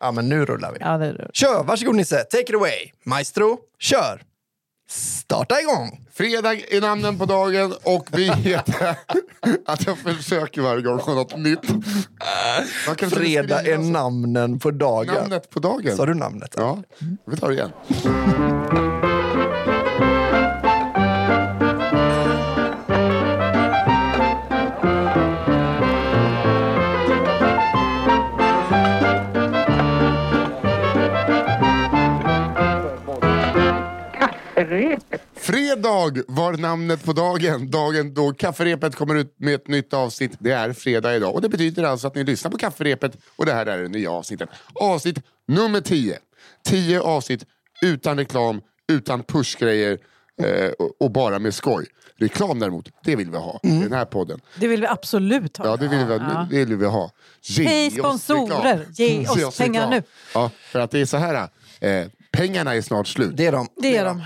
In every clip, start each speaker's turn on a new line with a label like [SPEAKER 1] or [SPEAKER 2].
[SPEAKER 1] Ja, men nu rullar vi.
[SPEAKER 2] Ja, det är det.
[SPEAKER 1] Kör! Varsågod Nisse, take it away. Maestro, kör! Starta igång!
[SPEAKER 3] Fredag i namnen på dagen och vi heter... att jag försöker varje gång på något nytt. Man kanske
[SPEAKER 1] Fredag
[SPEAKER 3] skulle
[SPEAKER 1] är
[SPEAKER 3] gilla
[SPEAKER 1] namnen på dagen.
[SPEAKER 3] namnet på dagen.
[SPEAKER 1] Sa du namnet?
[SPEAKER 3] Ja, vi tar det igen. Fredag var namnet på dagen. Dagen då kafferepet kommer ut med ett nytt avsnitt. Det är fredag idag och det betyder alltså att ni lyssnar på kafferepet och det här är det nya avsnittet. Avsnitt nummer 10. 10 avsnitt utan reklam, utan pushgrejer eh, och, och bara med skoj. Reklam däremot, det vill vi ha
[SPEAKER 1] Mm.
[SPEAKER 3] i den här podden.
[SPEAKER 2] det vill vi absolut ha.
[SPEAKER 3] Ja, det vill vi, det vill vi ha. Ge
[SPEAKER 2] Hej
[SPEAKER 3] oss
[SPEAKER 2] sponsorer,
[SPEAKER 3] reklam.
[SPEAKER 2] ge oss
[SPEAKER 3] oss
[SPEAKER 2] pengar
[SPEAKER 3] reklam.
[SPEAKER 2] nu.
[SPEAKER 3] Ja, för att det är så här. Eh, pengarna är snart slut.
[SPEAKER 1] Det är de.
[SPEAKER 2] Det är de.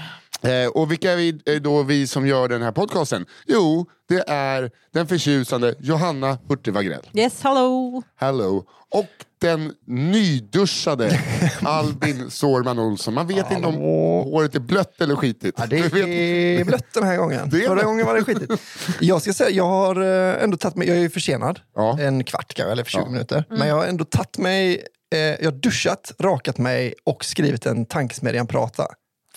[SPEAKER 3] Eh, och vilka är vi, eh, då vi som gör den här podcasten? Jo, det är den förtjusande Johanna Hurtig Wagrell.
[SPEAKER 2] Yes, hello!
[SPEAKER 3] Hello. Och den nyduschade Albin Sårman Olsson. Man vet inte om håret är blött eller skitigt.
[SPEAKER 1] Ja,
[SPEAKER 3] Vi vet-
[SPEAKER 1] det är blött den här gången.
[SPEAKER 3] Det är
[SPEAKER 1] Förra
[SPEAKER 3] blött.
[SPEAKER 1] gången var det skitigt. Jag ska säga, jag har eh, ändå tagit mig, jag är ju försenad,
[SPEAKER 3] Ja.
[SPEAKER 1] en kvart kanske, eller 20
[SPEAKER 3] Ja.
[SPEAKER 1] minuter.
[SPEAKER 2] Mm.
[SPEAKER 1] Men jag har ändå tagit mig, eh, jag har duschat, rakat mig och skrivit en tankesmedjan prata.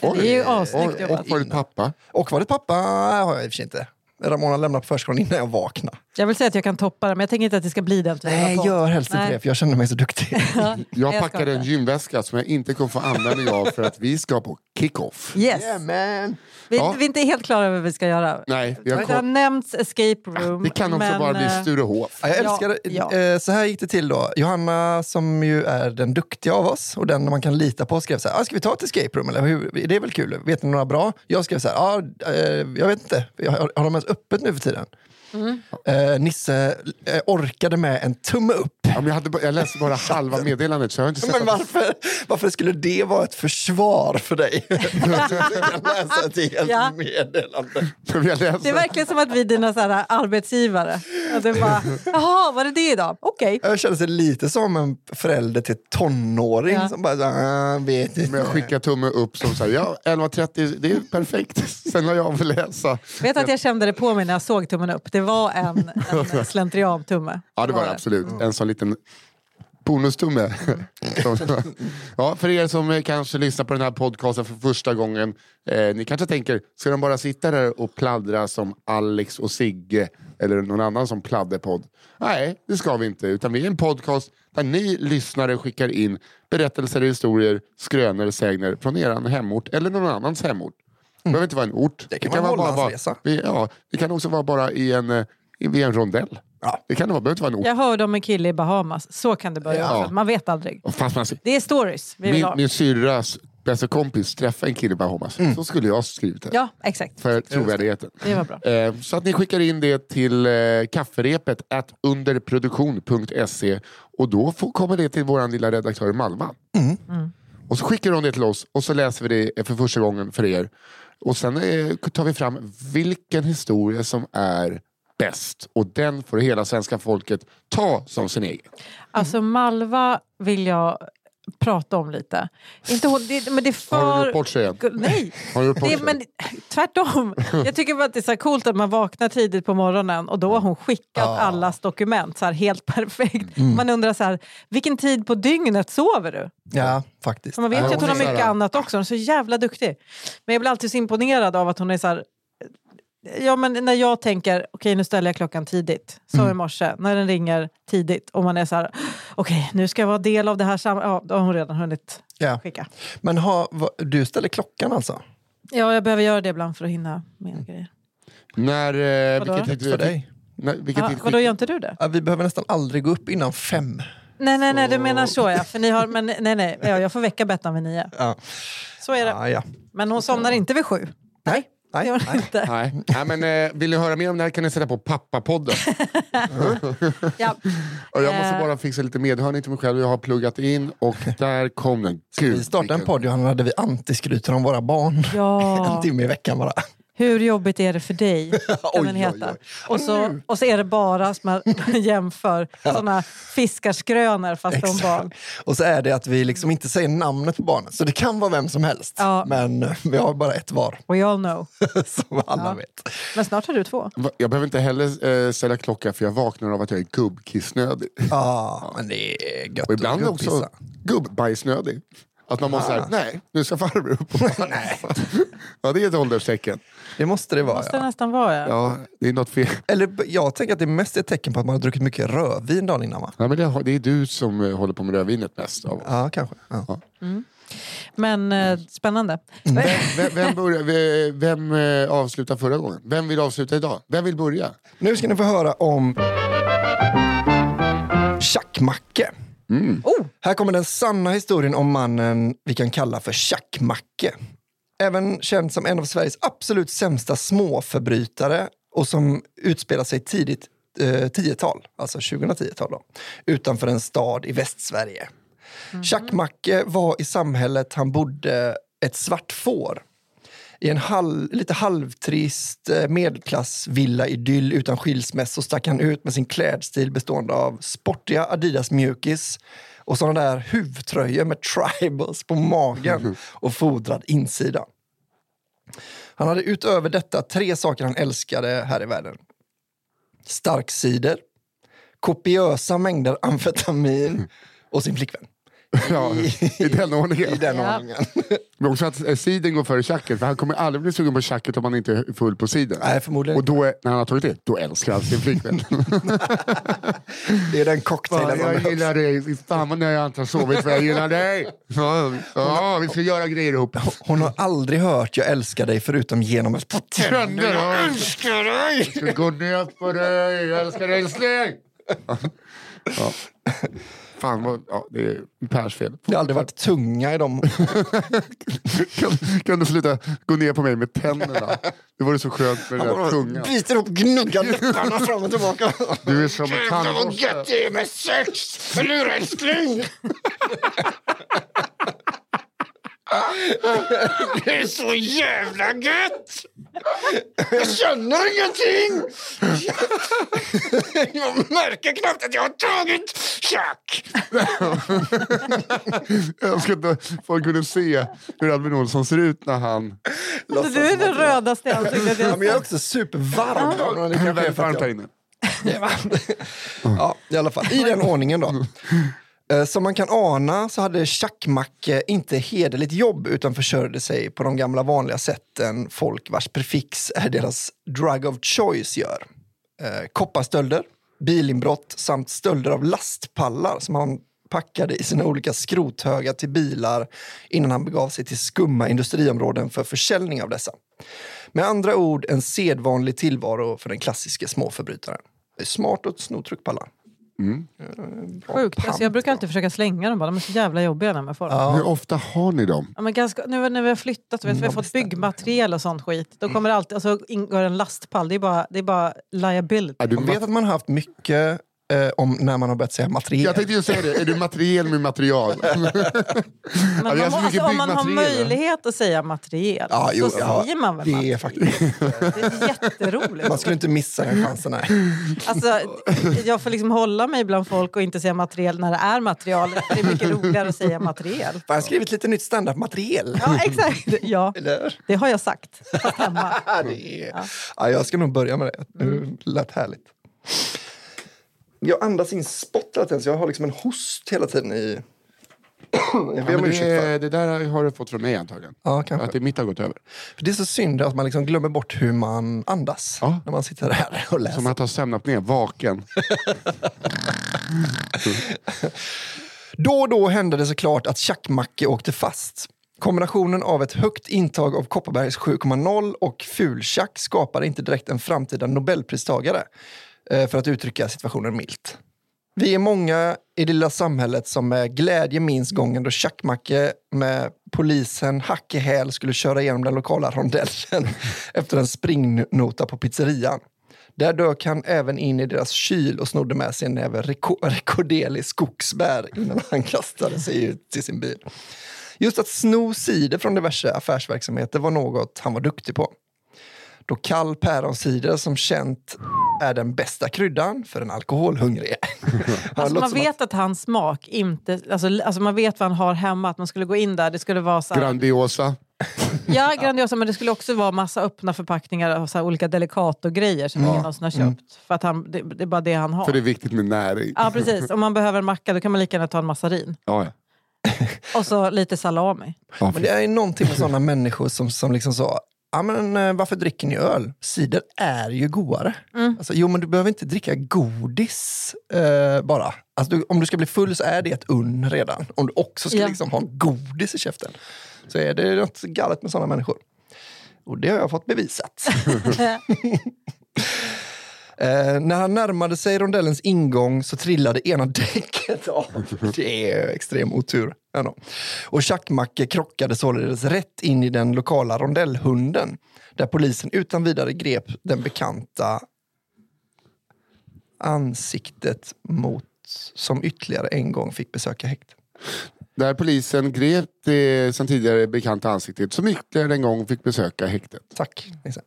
[SPEAKER 3] Oj.
[SPEAKER 2] Det är ju assnyggt
[SPEAKER 3] och,
[SPEAKER 2] jobbat.
[SPEAKER 3] och varit pappa.
[SPEAKER 1] Och varit pappa har jag i och för sig inte. Ramona lämnade på förskolan innan jag vaknade.
[SPEAKER 2] Jag vill säga att jag kan toppa det, men jag tänker inte att det ska bli den typen
[SPEAKER 1] Nej,
[SPEAKER 2] av podd.
[SPEAKER 1] gör helst inte
[SPEAKER 2] Nej.
[SPEAKER 1] det, för jag känner mig så duktig.
[SPEAKER 2] Ja,
[SPEAKER 3] Jag
[SPEAKER 2] jag ska
[SPEAKER 3] packade en
[SPEAKER 2] inte.
[SPEAKER 3] gymväska som jag inte kommer få användning av för att vi ska på kickoff.
[SPEAKER 2] Yes.
[SPEAKER 1] Yeah, man.
[SPEAKER 2] Vi,
[SPEAKER 3] Ja.
[SPEAKER 2] vi är inte helt klara över vad vi ska göra.
[SPEAKER 3] Nej, vi
[SPEAKER 2] Det
[SPEAKER 3] har
[SPEAKER 2] har
[SPEAKER 3] kom... Ah,
[SPEAKER 2] nämnts escape room.
[SPEAKER 3] Det kan också
[SPEAKER 2] men,
[SPEAKER 3] bara bli
[SPEAKER 2] eh,
[SPEAKER 3] Sturehof.
[SPEAKER 1] Ja, jag
[SPEAKER 2] Ja,
[SPEAKER 1] älskar
[SPEAKER 2] ja.
[SPEAKER 1] Eh, Så här gick det till då. Johanna som ju är den duktiga av oss och den man kan lita på skrev så här, ah, ska vi ta ett escape room eller hur? Det är väl kul, vet ni några bra? Jag skrev så här, ah, eh, jag vet inte, har har de ens öppet nu för tiden? Eh, Nisse eh, orkade med en tumme upp.
[SPEAKER 3] Ja, men jag, hade, ba- jag läste bara halva meddelandet så jag har inte sett
[SPEAKER 1] Men
[SPEAKER 3] att det
[SPEAKER 1] varför, varför skulle det vara ett försvar för dig? Att du inte kan läsa ett helt
[SPEAKER 2] Ja.
[SPEAKER 1] meddelande.
[SPEAKER 3] För vi har läst
[SPEAKER 2] Det är verkligen som att vi är dina så här, eh, arbetsgivare. Och det är bara, Jaha, var det det idag? Okej.
[SPEAKER 3] Eh,
[SPEAKER 1] Jag kände sig lite som en förälder till tonåring
[SPEAKER 2] Ja.
[SPEAKER 1] som bara, så här, ah, vet inte.
[SPEAKER 3] Men jag skickar tumme upp som såhär, ja 11.30, det är perfekt. Sen har jag väl läsa.
[SPEAKER 2] Vet att jag kände det på mig när jag såg tummen upp. Det var en, en slentriantumme.
[SPEAKER 3] Ja det var det absolut. En sån liten bonustumme. Som- ja, för er som eh, kanske lyssnar på den här podcasten för första gången. Eh, ni kanske tänker, ska de bara sitta där och pladdra som Alex och Sigge eller någon annan som pladderpodd? Nej, det ska vi inte. Utan vi är en podcast där ni lyssnare skickar in berättelser, historier, skrönor, sägner från er hemort eller någon annans hemort. Det behöver inte vara en ort.
[SPEAKER 1] Det kan vara en
[SPEAKER 3] bara,
[SPEAKER 1] Norrlandsresa.
[SPEAKER 3] vi- ja, det kan också vara bara i en, eh, i, i en rondell.
[SPEAKER 1] Ja.
[SPEAKER 3] Det kan det vara, behöver inte vara en ort.
[SPEAKER 2] Jag hörde om en kille i Bahamas. Så kan det börja.
[SPEAKER 3] Ja.
[SPEAKER 2] alltså. Man vet aldrig.
[SPEAKER 3] Och Fast man,
[SPEAKER 2] Det är stories vi vill
[SPEAKER 3] min
[SPEAKER 2] ha.
[SPEAKER 3] min syrras bästa kompis träffade en kille i Bahamas. Så skulle jag ha skrivit det.
[SPEAKER 2] Ja, exakt.
[SPEAKER 3] För trovärdigheten.
[SPEAKER 2] Det var bra.
[SPEAKER 3] Eh, Så att ni skickar in det till eh, kafferepet at underproduktion.se och då får, kommer det till vår lilla redaktör i Malmö.
[SPEAKER 1] Mm.
[SPEAKER 3] Och så skickar hon det till oss och så läser vi det för första gången för er. Och sen eh, tar vi fram vilken historia som är bäst. Och den får hela svenska folket ta som sin egen.
[SPEAKER 2] Alltså Malva vill jag prata om lite. Inte hon, det, men det är för...
[SPEAKER 3] Har hon gjort bort sig igen?
[SPEAKER 2] Gu- Nej,
[SPEAKER 3] Har du gjort bort
[SPEAKER 2] det,
[SPEAKER 3] sig?
[SPEAKER 2] är- men tvärtom. Jag tycker bara att det är så här coolt att man vaknar tidigt på morgonen och då har hon skickat allas dokument så här helt perfekt.
[SPEAKER 3] Mm.
[SPEAKER 2] Man undrar så här, vilken tid på dygnet sover du?
[SPEAKER 1] Ja, faktiskt.
[SPEAKER 2] För man vet
[SPEAKER 3] Ja,
[SPEAKER 2] ju att hon
[SPEAKER 3] hon
[SPEAKER 2] har
[SPEAKER 3] är så här-
[SPEAKER 2] mycket annat också. Hon är så jävla duktig. Men jag blir alltid så imponerad av att hon är så här... Ja, men när jag tänker, okej nu ställer jag klockan tidigt, som
[SPEAKER 1] Mm.
[SPEAKER 2] i morse, när den ringer tidigt och man är så här, okej nu ska jag vara del av det här sam... Ja, då har hon redan hunnit
[SPEAKER 1] Ja.
[SPEAKER 2] skicka.
[SPEAKER 1] Men ha, va, du ställer klockan alltså?
[SPEAKER 2] Ja, jag behöver göra det ibland för att hinna med grejer.
[SPEAKER 3] När, eh,
[SPEAKER 2] Vadå?
[SPEAKER 3] vilken tid,
[SPEAKER 1] För dig?
[SPEAKER 3] När, vilken
[SPEAKER 2] Ja,
[SPEAKER 3] tid
[SPEAKER 2] vadå,
[SPEAKER 3] skickar
[SPEAKER 2] gör inte du det?
[SPEAKER 1] Ja, vi behöver nästan aldrig gå upp innan fem.
[SPEAKER 2] Nej, nej, nej, du menar så ja. För ni har, men nej, nej, ja, jag får väcka Bettan vid nio.
[SPEAKER 1] Ja.
[SPEAKER 2] Så är det.
[SPEAKER 1] Ah, Ja, ja.
[SPEAKER 2] Men hon somnar inte vid sju.
[SPEAKER 1] Nej,
[SPEAKER 2] Det
[SPEAKER 1] nej,
[SPEAKER 2] gör hon
[SPEAKER 1] nej.
[SPEAKER 2] inte.
[SPEAKER 3] Nej. Nej, men, eh, vill ni höra mer om det här kan ni sätta på pappapodden.
[SPEAKER 2] Ja.
[SPEAKER 3] Och jag måste
[SPEAKER 2] Eh.
[SPEAKER 3] bara fixa lite medhörning till mig själv. Jag har pluggat in och där kom den. Gud,
[SPEAKER 1] Vi startade en
[SPEAKER 3] vilken-
[SPEAKER 1] podd, Johanna, hade vi antiskryter om våra barn.
[SPEAKER 2] Ja.
[SPEAKER 1] En timme i veckan bara.
[SPEAKER 2] Hur jobbigt är det för dig?
[SPEAKER 1] Oj,
[SPEAKER 2] Kan den
[SPEAKER 1] oj,
[SPEAKER 2] heta.
[SPEAKER 1] oj.
[SPEAKER 2] Och, så, och så är det bara som man jämför såna fiskarskrönor fast om barn.
[SPEAKER 1] Och så är det att vi liksom inte säger namnet på barnet, så det kan vara vem som helst.
[SPEAKER 2] Ja.
[SPEAKER 1] Men vi har bara ett var,
[SPEAKER 2] We all know.
[SPEAKER 1] som alla
[SPEAKER 2] Ja.
[SPEAKER 1] vet.
[SPEAKER 2] Men snart har du två.
[SPEAKER 3] Va- Jag behöver inte heller eh, ställa klocka för jag vaknar av att jag är gubbkissnödig.
[SPEAKER 1] Ja, men det är gött
[SPEAKER 3] Och ibland
[SPEAKER 1] att
[SPEAKER 3] också
[SPEAKER 1] gubbpissa. Ah.
[SPEAKER 3] gubbbajsnödig. Att man måste säga, nej, nu ska farbror upp och nej. Ja, det är ett ålderstecken.
[SPEAKER 1] Det måste det vara,
[SPEAKER 2] Måste det
[SPEAKER 1] ja.
[SPEAKER 2] nästan vara, ja.
[SPEAKER 3] Ja, det är något fel.
[SPEAKER 1] Eller b- jag tänker att det mest är ett tecken på att man har druckit mycket rödvin dagen innan, va?
[SPEAKER 3] Ja, men det, har- det är du som eh, håller på med rödvinet mest. Av. oss.
[SPEAKER 1] Ja, kanske. Ja.
[SPEAKER 2] Men eh,
[SPEAKER 1] Mm.
[SPEAKER 2] spännande.
[SPEAKER 3] Vem, vem, börjar, ve- vem eh, avslutar förra gången? Vem vill avsluta idag? Vem vill börja?
[SPEAKER 1] Nu ska ni få höra om Tjackmacke.
[SPEAKER 2] Oh,
[SPEAKER 1] Här kommer den sanna historien om mannen vi kan kalla för Tjackmacke. Även känd som en av Sveriges absolut sämsta småförbrytare och som utspelar sig tidigt eh, 10-tal, alltså 2010-tal då, utanför en stad i Västsverige. Tjackmacke var i samhället han bodde ett svart får i en halv, lite halvtrist eh, medelklassvilla idyll utan skilsmässa stack han ut med sin klädstil bestående av sportiga Adidas mjukis och sådana där huvtröjor med tribals på magen och fodrad insida. Han hade utöver detta tre saker han älskade här i världen. Stark cider, kopiösa mängder amfetamin och sin flickvän.
[SPEAKER 3] Ja, I den
[SPEAKER 1] I
[SPEAKER 3] ordningen.
[SPEAKER 1] den
[SPEAKER 2] Ja.
[SPEAKER 1] ordningen.
[SPEAKER 3] Men också att eh, siden går före tjacket. För han kommer aldrig bli sugen på tjacket om han inte är full på siden.
[SPEAKER 1] Nej, förmodligen
[SPEAKER 3] Och då, är- när han har tagit det, då älskar han sin flickvän.
[SPEAKER 1] Det är den cocktailen som
[SPEAKER 3] jag
[SPEAKER 1] behövs.
[SPEAKER 3] gillar dig. Fan vad jag inte har sovit för jag gillar dig. Ja, ja, vi ska göra grejer ihop.
[SPEAKER 1] Hon har aldrig hört jag älskar dig förutom genom ett par
[SPEAKER 3] Tänder,
[SPEAKER 1] tänder.
[SPEAKER 3] ja.
[SPEAKER 1] Jag älskar dig!
[SPEAKER 3] Jag ska gå ner på dig. Jag älskar dig älskling. Ja. Fan vad, ja, det är Pers fel.
[SPEAKER 1] Det har aldrig varit tunga i dem.
[SPEAKER 3] Kan, kan du sluta gå ner på mig med tänderna? Det vore så skönt med den där tungan.
[SPEAKER 1] Biter ihop, gnuggar läpparna fram och tillbaka.
[SPEAKER 3] Du är som en tandborste.
[SPEAKER 1] det är med sex! Eller hur älskling? Det är så jävla gött! Jag känner ingenting! Jag märker knappt att jag har tagit tjack!
[SPEAKER 3] Jag önskar att folk kunde se hur Albin Olsson ser ut när han...
[SPEAKER 2] du är den rödaste i ansiktet
[SPEAKER 1] Ja,
[SPEAKER 2] jag
[SPEAKER 1] men jag är också supervarm. Det
[SPEAKER 3] Det är
[SPEAKER 1] kanske är
[SPEAKER 3] väldigt
[SPEAKER 1] för
[SPEAKER 3] varmt
[SPEAKER 1] att
[SPEAKER 3] här
[SPEAKER 1] jag
[SPEAKER 3] inne.
[SPEAKER 1] Det var- ja, i alla fall. I den ordningen då. Eh, Som man kan ana så hade Tjackmacke inte hederligt jobb utan försörjde sig på de gamla vanliga sätten folk vars prefix är deras drug of choice gör. Eh, Kopparstölder, bilinbrott samt stölder av lastpallar som han packade i sina olika skrothögar till bilar innan han begav sig till skumma industriområden för försäljning av dessa. Med andra ord en sedvanlig tillvaro för den klassiska småförbrytaren. Det är smart att sno tryckpallar. Eh,
[SPEAKER 2] Sjukt. Alltså, jag brukar alltid fööka slänga dem bara. De är så jävla jobbiga när man får dem.
[SPEAKER 3] Hur ofta har ni dem?
[SPEAKER 2] Ja, men ganska, nu när vi har flyttat och vi
[SPEAKER 1] Mm,
[SPEAKER 2] har fått byggmaterial och sånt skit. Då kommer det alltid, alltså, ingår en lastpall. Det är bara, det är bara liability.
[SPEAKER 3] Är du
[SPEAKER 1] Man vet att man har haft mycket eh, om när man har börjat säga material.
[SPEAKER 3] Jag tänkte ju säga det, är du materiel med material?
[SPEAKER 2] Men
[SPEAKER 3] vi har
[SPEAKER 2] man
[SPEAKER 3] så
[SPEAKER 2] må,
[SPEAKER 3] mycket
[SPEAKER 2] alltså, om man har
[SPEAKER 3] byggmaterial.
[SPEAKER 2] möjlighet att säga material
[SPEAKER 1] Ja, jo,
[SPEAKER 2] så
[SPEAKER 1] ja,
[SPEAKER 2] säger man väl
[SPEAKER 1] det
[SPEAKER 2] material.
[SPEAKER 1] är faktiskt.
[SPEAKER 2] Det är jätteroligt.
[SPEAKER 1] Man skulle inte missa den chansen. Nej.
[SPEAKER 2] Alltså, jag får liksom hålla mig bland folk och inte säga material när det är material. Det är mycket roligare att säga material.
[SPEAKER 1] Fan, Jag har skrivit lite nytt standup-material.
[SPEAKER 2] Ja, exakt. Ja,
[SPEAKER 1] Eller?
[SPEAKER 2] det har jag sagt. Fast hemma.
[SPEAKER 1] Ja, det är... ja, jag ska nog börja med det. Det lät härligt. Jag andas in spott hela tiden, så jag har liksom en host hela tiden i... Jag ber
[SPEAKER 3] Ja,
[SPEAKER 1] om
[SPEAKER 3] men
[SPEAKER 1] ursäkt för.
[SPEAKER 3] det, det där har du fått från mig antagligen.
[SPEAKER 1] Ja, kanske.
[SPEAKER 3] Att det mitt har gått över.
[SPEAKER 1] Det är så synd att man liksom glömmer bort hur man andas
[SPEAKER 3] Ja.
[SPEAKER 1] när man sitter här och läser.
[SPEAKER 3] Som att ha sömnat ner vaken.
[SPEAKER 1] Då och då hände det såklart att tjackmacke åkte fast. Kombinationen av ett högt intag av Kopparbergs 7,0 och fultjack skapade inte direkt en framtida nobelpristagare, eh, för att uttrycka situationen milt. Vi är många i det lilla samhället som med glädje minns gången då tjackmacke med polisen hack i häl skulle köra igenom den lokala rondellen efter en springnota på pizzerian. Där dök han även in i deras kyl och snodde med sig en näve reko- rekodeli skogsbär innan han kastade sig ut till sin bil. Just att sno cider från diverse affärsverksamheter var något han var duktig på. då kall päronsider som känt är den bästa kryddan för en alkoholhungrig. Ja, det
[SPEAKER 2] Alltså,
[SPEAKER 1] låter
[SPEAKER 2] man
[SPEAKER 1] som
[SPEAKER 2] vet att... hans smak inte... Alltså, alltså man vet vad han har hemma, att man skulle gå in där. Det skulle vara så här,
[SPEAKER 3] Grandiosa.
[SPEAKER 2] ja, grandiosa, men det skulle också vara massa öppna förpackningar av så här, olika Delicato-grejer som ingen någonsin har köpt. För att han, det, det är bara det han har.
[SPEAKER 3] För det är viktigt med näring.
[SPEAKER 2] Ja, precis. Om man behöver en macka då kan man lika gärna ta en massarin.
[SPEAKER 3] Ja, ja.
[SPEAKER 2] Och så lite salami.
[SPEAKER 3] Ja,
[SPEAKER 1] Men det är ju någonting med sådana människor som, som liksom sa, ja men eh, varför dricker ni öl? Cider är ju godare.
[SPEAKER 2] Mm.
[SPEAKER 1] Alltså, jo, men du behöver inte dricka godis eh, bara. Alltså, du, om du ska bli full så är det ett unn redan. Om du också ska
[SPEAKER 2] Ja.
[SPEAKER 1] liksom ha godis i käften så är det något galet med sådana människor. Och det har jag fått bevisat. Eh, när han närmade sig rondellens ingång så trillade ena däcket av. Det är extrem otur. Ändå. Och Tjackmacke krockade således rätt in i den lokala rondellhunden där polisen utan vidare grep den bekanta ansiktet mot som ytterligare en gång fick besöka häktet.
[SPEAKER 3] Där polisen grep det sen tidigare bekanta ansiktet som ytterligare en gång fick besöka häktet.
[SPEAKER 1] Tack. Nisse.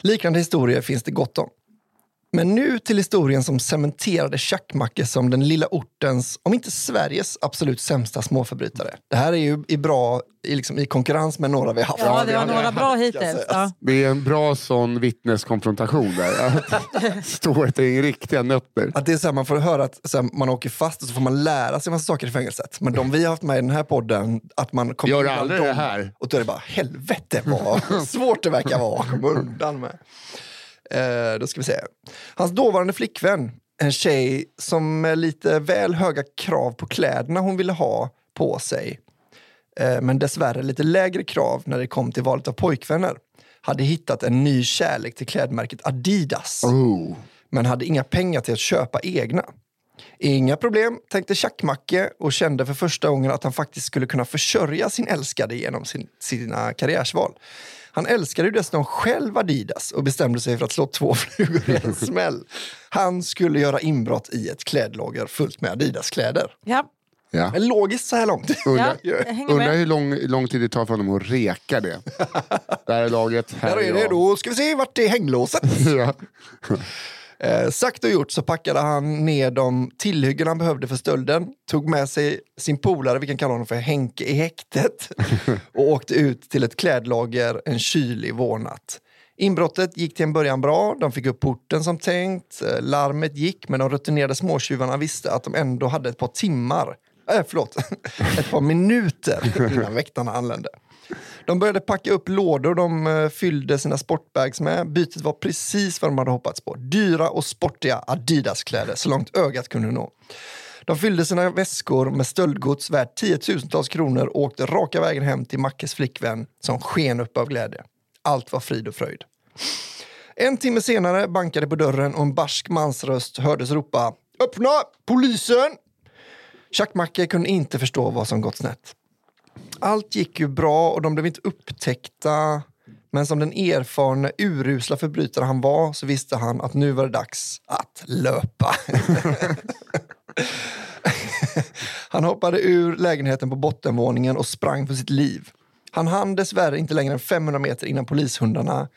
[SPEAKER 1] Liknande historier finns det gott om. Men nu till historien som cementerade Tjackmacke som den lilla ortens, om inte Sveriges, absolut sämsta småförbrytare. Det här är ju i bra i, liksom, i konkurrens med några vi har haft.
[SPEAKER 2] Ja, det var
[SPEAKER 1] har-
[SPEAKER 2] några bra
[SPEAKER 1] Alltså,
[SPEAKER 2] hittills. Ja.
[SPEAKER 3] Det är en bra sån vittneskonfrontation där. Att Stå ett gäng riktiga nötter.
[SPEAKER 1] Att det är så här, man får höra att så här, man åker fast och så får man lära sig massa saker i fängelset. Men de vi har haft med i den här podden, att man kommer
[SPEAKER 3] Gör
[SPEAKER 1] undan
[SPEAKER 3] aldrig det
[SPEAKER 1] dem.
[SPEAKER 3] här.
[SPEAKER 1] Och då är det bara, helvete vad svårt det verkar vara att komma undan med. Eh, då ska vi se. Hans dåvarande flickvän, en tjej som med lite väl höga krav på kläderna hon ville ha på sig, eh, men dessvärre lite lägre krav när det kom till valet av pojkvänner, hade hittat en ny kärlek till klädmärket Adidas
[SPEAKER 3] Oh.
[SPEAKER 1] men hade inga pengar till att köpa egna. Inga problem, tänkte Tjackmacke och kände för första gången att han faktiskt skulle kunna försörja sin älskade genom sin, sina karriärsval. Han älskade ju dessutom själv Adidas och bestämde sig för att slå två flugor i en smäll. Han skulle göra inbrott i ett klädlager fullt med Adidas-kläder.
[SPEAKER 2] Ja.
[SPEAKER 3] Ja.
[SPEAKER 1] Men logiskt så här långt.
[SPEAKER 2] Ja,
[SPEAKER 3] Undrar,
[SPEAKER 2] jag hänger
[SPEAKER 3] undrar
[SPEAKER 2] med.
[SPEAKER 3] hur lång, lång tid det tar för honom att reka det. Där är laget, här
[SPEAKER 1] Där är
[SPEAKER 3] är
[SPEAKER 1] det,
[SPEAKER 3] jag.
[SPEAKER 1] då ska vi se vart det är hänglåset.
[SPEAKER 3] Ja.
[SPEAKER 1] Eh, sagt och gjort så packade han ner de tillhyggen han behövde för stölden, tog med sig sin polare, vi kan kalla honom för Henke, i häktet och åkte ut till ett klädlager en kylig vårnatt. Inbrottet gick till en början bra, de fick upp porten som tänkt, eh, larmet gick men de rutinerade småtjuvarna visste att de ändå hade ett par timmar, äh, förlåt, ett par minuter innan väktarna anlände. De började packa upp lådor de eh, fyllde sina sportbags med. Bytet var precis vad de hade hoppats på. Dyra och sportiga Adidas-kläder så långt ögat kunde nå. De fyllde sina väskor med stöldgods värt tiotusentals kronor och åkte raka vägen hem till Mackes flickvän som sken upp av glädje. Allt var frid och fröjd. En timme senare bankade på dörren och en barsk mansröst hördes ropa Öppna! Polisen! Tjackmacke kunde inte förstå vad som gått snett allt gick ju bra och de blev inte upptäckta. Men som den erfarne, urusla förbrytare han var så visste han att nu var det dags att löpa. han hoppade ur lägenheten på bottenvåningen och sprang för sitt liv. Han hann dessvärre inte längre än 500 meter innan polishundarna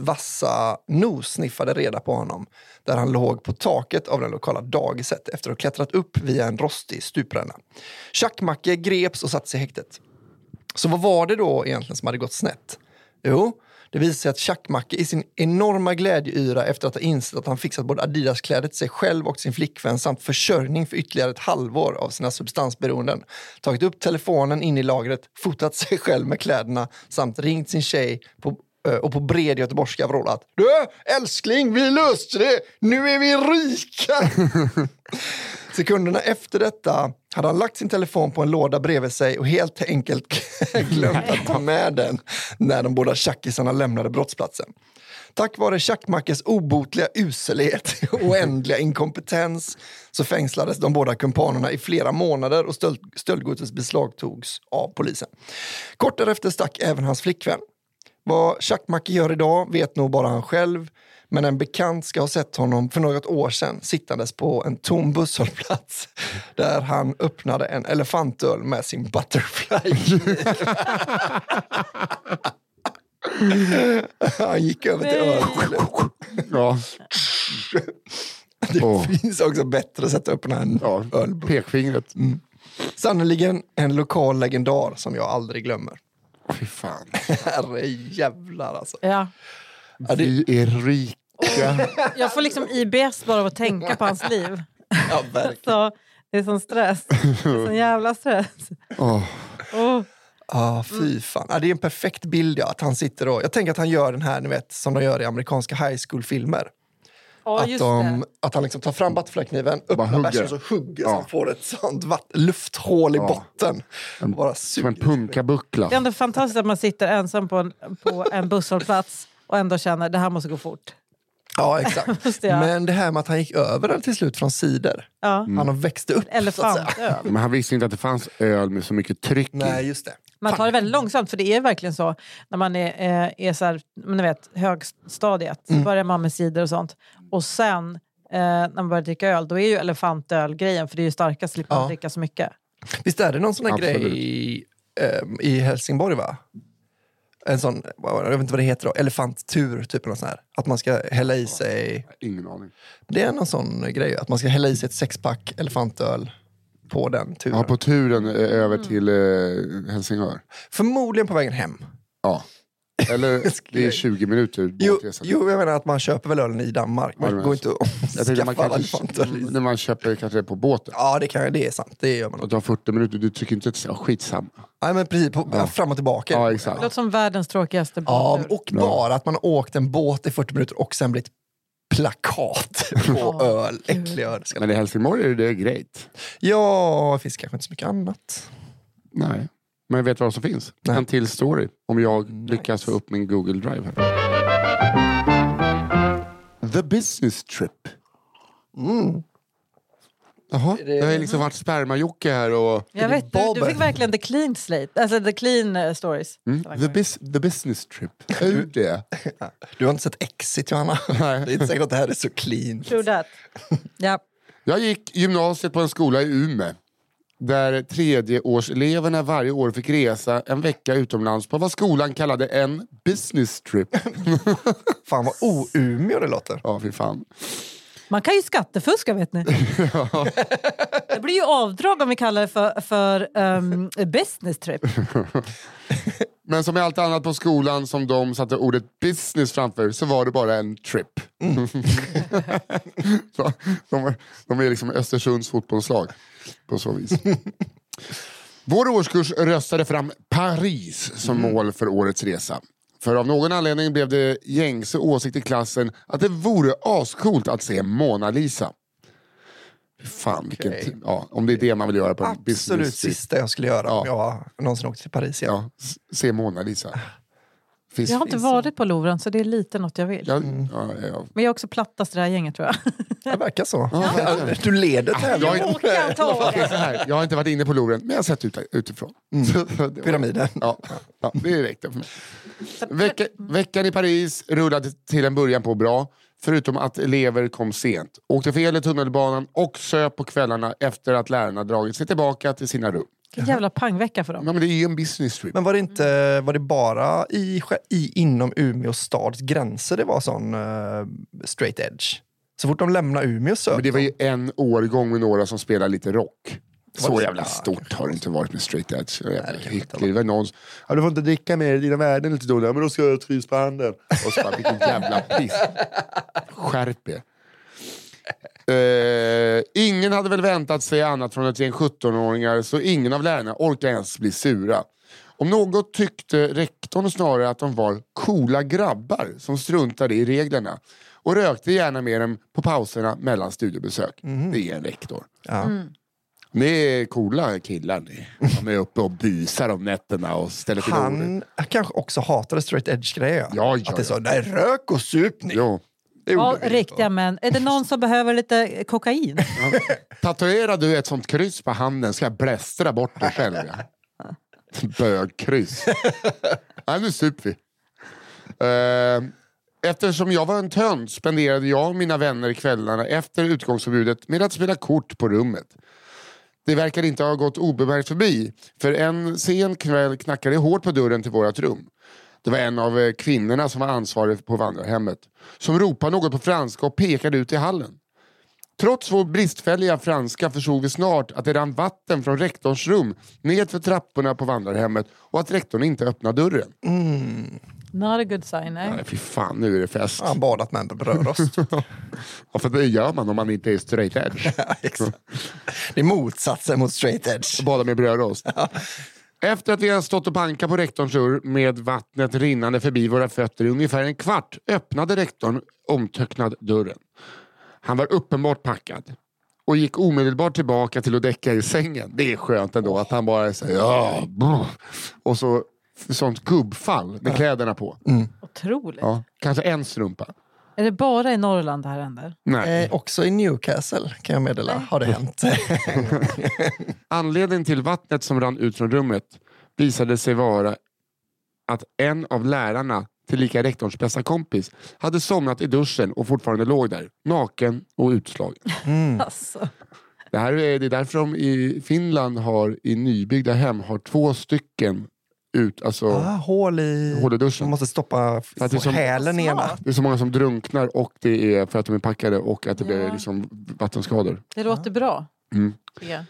[SPEAKER 1] vassa nos sniffade reda på honom där han låg på taket av det lokala dagiset efter att ha klättrat upp via en rostig stupränna. Tjackmacke greps och sattes i häktet. Så vad var det då egentligen som hade gått snett? Jo, det visade sig att Tjackmacke i sin enorma glädjeyra efter att ha insett att han fixat både Adidas-kläder till sig själv och sin flickvän samt försörjning för ytterligare ett halvår av sina substansberoenden tagit upp telefonen in i lagret, fotat sig själv med kläderna samt ringt sin tjej på, eh, och på bred göteborgska vrålat Du älskling, vi löste det! Nu är vi rika! Sekunderna efter detta hade han lagt sin telefon på en låda bredvid sig och helt enkelt glömt att ta med den när de båda tjackisarna lämnade brottsplatsen. Tack vare Tjackmackes obotliga uselhet och oändliga inkompetens så fängslades de båda kumpanerna i flera månader och stöld, stöldgodset beslagtogs av polisen. Kort därefter stack även hans flickvän. Vad Tjackmacke gör idag vet nog bara han själv men en bekant ska ha sett honom för något år sedan sittandes på en tom busshållplats där han öppnade en elefantöl med sin butterfly. Han gick över till
[SPEAKER 2] Nej.
[SPEAKER 1] öl.
[SPEAKER 3] Ja,
[SPEAKER 1] Det
[SPEAKER 3] Åh.
[SPEAKER 1] finns också bättre sätt att öppna en
[SPEAKER 3] ja.
[SPEAKER 1] öl.
[SPEAKER 3] Pekfingret.
[SPEAKER 1] Mm. Sannerligen en lokal legendar som jag aldrig glömmer.
[SPEAKER 3] Fy fan.
[SPEAKER 1] Herrejävlar alltså.
[SPEAKER 2] Ja.
[SPEAKER 1] Ja, det,
[SPEAKER 3] Vi är rika.
[SPEAKER 2] Jag får liksom IBS bara av att tänka på hans liv.
[SPEAKER 1] ja, verkligen.
[SPEAKER 2] Så det är sån stress. Sån jävla stress.
[SPEAKER 3] Åh.
[SPEAKER 2] Oh.
[SPEAKER 1] Ah,
[SPEAKER 2] Mm.
[SPEAKER 1] fy fan. Ah, det är en perfekt bild. Ja, att han sitter och, jag tänker att han gör den här ni vet, som de gör i amerikanska high school-filmer.
[SPEAKER 2] Ja,
[SPEAKER 1] att,
[SPEAKER 2] just
[SPEAKER 1] de,
[SPEAKER 2] det.
[SPEAKER 1] att han liksom tar fram butterflykniven, öppnar
[SPEAKER 3] hugger.
[SPEAKER 1] bärsen och så hugger så
[SPEAKER 3] Ja.
[SPEAKER 1] han får ett sånt vatt, lufthål i
[SPEAKER 3] Ja.
[SPEAKER 1] botten. Och bara
[SPEAKER 3] Som en
[SPEAKER 1] suger.
[SPEAKER 3] punkabuckla.
[SPEAKER 2] Det är ändå fantastiskt att man sitter ensam på en, på en busshållplats och ändå känner att det här måste gå fort.
[SPEAKER 1] Ja, exakt.
[SPEAKER 2] det, ja.
[SPEAKER 1] Men det här med att han gick över den till slut från cider.
[SPEAKER 2] Ja.
[SPEAKER 1] Han har växte upp så att säga.
[SPEAKER 2] Elefantöl.
[SPEAKER 3] Men han visste inte att det fanns öl med så mycket tryck
[SPEAKER 1] Nej,
[SPEAKER 3] i.
[SPEAKER 1] just det.
[SPEAKER 2] Man
[SPEAKER 1] Fan.
[SPEAKER 2] tar det väldigt långsamt, för det är verkligen så när man är, eh, är så här, men ni vet, högstadiet. Så
[SPEAKER 1] Mm.
[SPEAKER 2] börjar man med cider och sånt. Och sen eh, när man börjar dricka öl, då är ju elefantöl grejen, för det är ju starkast, slipper man
[SPEAKER 1] Ja.
[SPEAKER 2] dricka så mycket.
[SPEAKER 1] Visst är det någon sån här
[SPEAKER 3] Absolut.
[SPEAKER 1] grej i, ehm, i Helsingborg, va? En sån, vad var det? jag vet inte vad det heter då, elefanttur, typ något sån här. Att man ska hälla i sig,
[SPEAKER 3] Ingen aning.
[SPEAKER 1] det är någon sån grej, att man ska hälla i sig ett sexpack elefantöl på den turen.
[SPEAKER 3] Ja, på turen eh, över
[SPEAKER 1] Mm.
[SPEAKER 3] till eh, Helsingör.
[SPEAKER 1] Förmodligen på vägen hem.
[SPEAKER 3] Ja. Eller det är 20 minuter
[SPEAKER 1] Jo,
[SPEAKER 3] båtresan.
[SPEAKER 1] jo, jag menar att man köper väl ölen i Danmark,
[SPEAKER 3] Ja,
[SPEAKER 1] man
[SPEAKER 3] det
[SPEAKER 1] går
[SPEAKER 3] menar
[SPEAKER 1] inte och
[SPEAKER 3] Jag tänkte
[SPEAKER 1] skaffar
[SPEAKER 3] man
[SPEAKER 1] alla
[SPEAKER 3] kanske, Mm.
[SPEAKER 1] elefantöl. i-
[SPEAKER 3] när man köper kanske på båten.
[SPEAKER 1] Ja, det, kan, det är sant, det gör man.
[SPEAKER 3] Och
[SPEAKER 1] nog.
[SPEAKER 3] tar 40 minuter, du tycker inte att ja, skitsamma.
[SPEAKER 1] Nej, men precis, på, fram och tillbaka.
[SPEAKER 3] Ja,
[SPEAKER 2] Det
[SPEAKER 3] exakt.
[SPEAKER 2] låter som världens tråkigaste
[SPEAKER 1] Ja,
[SPEAKER 2] båttur.
[SPEAKER 1] och bara att man har åkt en båt i 40 minuter och sen blivit plakat på
[SPEAKER 2] Ja,
[SPEAKER 1] öl. Äcklig öl. ska jag-
[SPEAKER 3] Men i Helsingborg är det grejt.
[SPEAKER 1] Ja, det finns kanske inte så mycket annat.
[SPEAKER 3] Nej. Men vet du vad som finns?
[SPEAKER 1] Nej.
[SPEAKER 3] En till story. Om jag lyckas få upp min Google Drive här. The business trip. Mm. Jaha,
[SPEAKER 1] det-
[SPEAKER 3] jag har ju liksom varit spermajocke här och...
[SPEAKER 2] Jag vet, du, du
[SPEAKER 1] Bobben.
[SPEAKER 2] fick verkligen the clean slate, alltså the clean eh, stories.
[SPEAKER 3] Mm, the, bus the business trip. Är du det?
[SPEAKER 1] Du har inte sett Exit, Johanna? Det är inte säkert att det här är så clean.
[SPEAKER 2] True that. Ja.
[SPEAKER 3] Jag gick gymnasiet på en skola i Umeå. Där tredjeårseleverna varje år fick resa en vecka utomlands på vad skolan kallade en business trip.
[SPEAKER 1] Fan vad o-Umeå det låter.
[SPEAKER 3] Ja, fy fan.
[SPEAKER 2] Man kan ju skattefuska vet ni. Det blir ju avdrag om vi kallar det för, för ehm, business trip.
[SPEAKER 3] Men som i allt annat på skolan som de satte ordet business framför så var det bara en trip.
[SPEAKER 2] Mm.
[SPEAKER 3] så, de, de är liksom Östersunds fotbollslag på så vis. Vår årskurs röstade fram Paris som
[SPEAKER 2] Mm.
[SPEAKER 3] mål för årets resa. För av någon anledning blev det gängse åsikt i klassen att det vore ascoolt att se Mona Lisa. Fan,
[SPEAKER 1] Okej.
[SPEAKER 3] vilken, ja, om det är det man vill göra på en
[SPEAKER 1] Absolut
[SPEAKER 3] business trip.
[SPEAKER 1] sista jag skulle göra om jag någonsin åkte till Paris igen.
[SPEAKER 3] Ja, s- se Mona Lisa. Finns,
[SPEAKER 2] Jag har inte varit på Louvren så det är lite något jag vill.
[SPEAKER 3] Ja, ja, ja.
[SPEAKER 2] Men jag är också plattast i det här gänget tror jag.
[SPEAKER 1] Det verkar så. Du leder
[SPEAKER 3] Jag
[SPEAKER 1] tävlingen.
[SPEAKER 3] är-
[SPEAKER 2] Åka
[SPEAKER 3] Det är
[SPEAKER 2] antagligen.
[SPEAKER 3] så här, jag har inte varit inne på Louvren, men jag har sett ut, utifrån. Så det var-
[SPEAKER 1] Pyramiden.
[SPEAKER 3] Ja, ja, det räckte för mig. Vecka, veckan i Paris rullade till en början på bra, förutom att elever kom sent, åkte fel i tunnelbanan och söp på kvällarna efter att lärarna dragit sig tillbaka till sina rum.
[SPEAKER 2] Vilken jävla pangvecka för dem.
[SPEAKER 3] Ja, men det är ju en business trip.
[SPEAKER 1] Men var det, inte, var det bara i, sj- i, inom Umeå stads gränser det var sån eh, straight edge? Så fort de lämnar Umeå söp
[SPEAKER 3] Men det var
[SPEAKER 1] de.
[SPEAKER 3] ju en årgång med några som spelade lite rock.
[SPEAKER 1] Var
[SPEAKER 3] Så
[SPEAKER 1] det-
[SPEAKER 3] jävla
[SPEAKER 1] Ja,
[SPEAKER 3] stort har det inte varit med straight edge. Det var jävla
[SPEAKER 1] kan inte
[SPEAKER 3] hyckleri. Det var någon som, ja, du får inte dricka mer i dina värden lite då. Ja, men då ska jag trivas på handen. Och så bara, vilken jävla piss. Skärp er. Eh, ingen hade väl väntat sig annat från ett gäng 17-åringar så ingen av lärarna orkade ens bli sura. Om något tyckte rektorn snarare att de var coola grabbar som struntade i reglerna och rökte gärna med dem på pauserna mellan studiebesök.
[SPEAKER 1] Mhm.
[SPEAKER 3] Det är en rektor.
[SPEAKER 1] Ja.
[SPEAKER 3] Ni är coola killar ni. De är uppe och busar om nätterna och ställer till ordet.
[SPEAKER 1] Han kanske också hatade straight edge-grejer.
[SPEAKER 3] Ja, ja,
[SPEAKER 1] att det
[SPEAKER 3] ja.
[SPEAKER 1] sa nej, rök och sup ni.
[SPEAKER 3] Jo.
[SPEAKER 1] Det gjorde
[SPEAKER 2] Ja,
[SPEAKER 1] vi inte.
[SPEAKER 2] riktiga män. Är det någon som behöver lite kokain?
[SPEAKER 3] Tatuerar du ett sånt kryss på handen ska jag blästra bort det själv. Ja. Bögkryss. Nej, nu super vi. Eh, eftersom jag var en tönt spenderade jag och mina vänner kvällarna efter utgångsförbudet med att spela kort på rummet. Det verkar inte ha gått obemärkt förbi, för en sen kväll knackade det hårt på dörren till vårt rum. Det var en av eh, kvinnorna som var ansvarig på vandrarhemmet som ropade något på franska och pekade ut i hallen. Trots vår bristfälliga franska förstod vi snart att det rann vatten från rektorns rum nedför trapporna på vandrarhemmet och att rektorn inte öppnade dörren.
[SPEAKER 2] Not a good sign. Nej.
[SPEAKER 3] Nej, fy fan, nu är det fest.
[SPEAKER 1] Han badat med en brödrost.
[SPEAKER 3] Ja, för det gör man om man inte är straight edge.
[SPEAKER 1] Ja, exakt. Liksom. det är motsatsen mot straight edge.
[SPEAKER 3] Bada med brödrost. Efter att vi har stått och bankat på rektorns ur med vattnet rinnande förbi våra fötter i ungefär en kvart öppnade rektorn omtöcknad dörren. Han var uppenbart packad och gick omedelbart tillbaka till att däcka i sängen. Det är skönt ändå att han bara säger ja, brr." och så sånt gubbfall med kläderna på.
[SPEAKER 2] Otroligt.
[SPEAKER 3] Ja, kanske en strumpa.
[SPEAKER 2] Är det bara i Norrland det här händer?
[SPEAKER 3] Nej.
[SPEAKER 1] Eh, också i Newcastle kan jag meddela har det hänt.
[SPEAKER 3] Anledningen till vattnet som rann ut från rummet visade sig vara att en av lärarna, tillika rektorns bästa kompis, hade somnat i duschen och fortfarande låg där, naken och utslagen.
[SPEAKER 1] Mm.
[SPEAKER 3] Mm.
[SPEAKER 2] Alltså.
[SPEAKER 3] Det, här är, det är därför de i Finland har, i nybyggda hem har två stycken ut, alltså,
[SPEAKER 1] ah, hål i...
[SPEAKER 3] hål i
[SPEAKER 1] Man
[SPEAKER 3] duschen.
[SPEAKER 1] måste stoppa
[SPEAKER 3] För att det är som-
[SPEAKER 1] hälen i ena.
[SPEAKER 2] Smart.
[SPEAKER 3] Det är så många som drunknar och det är för att de är packade och att det blir
[SPEAKER 2] Ja.
[SPEAKER 3] liksom vattenskador.
[SPEAKER 2] Det låter bra.
[SPEAKER 3] Mm.
[SPEAKER 2] tycker jag.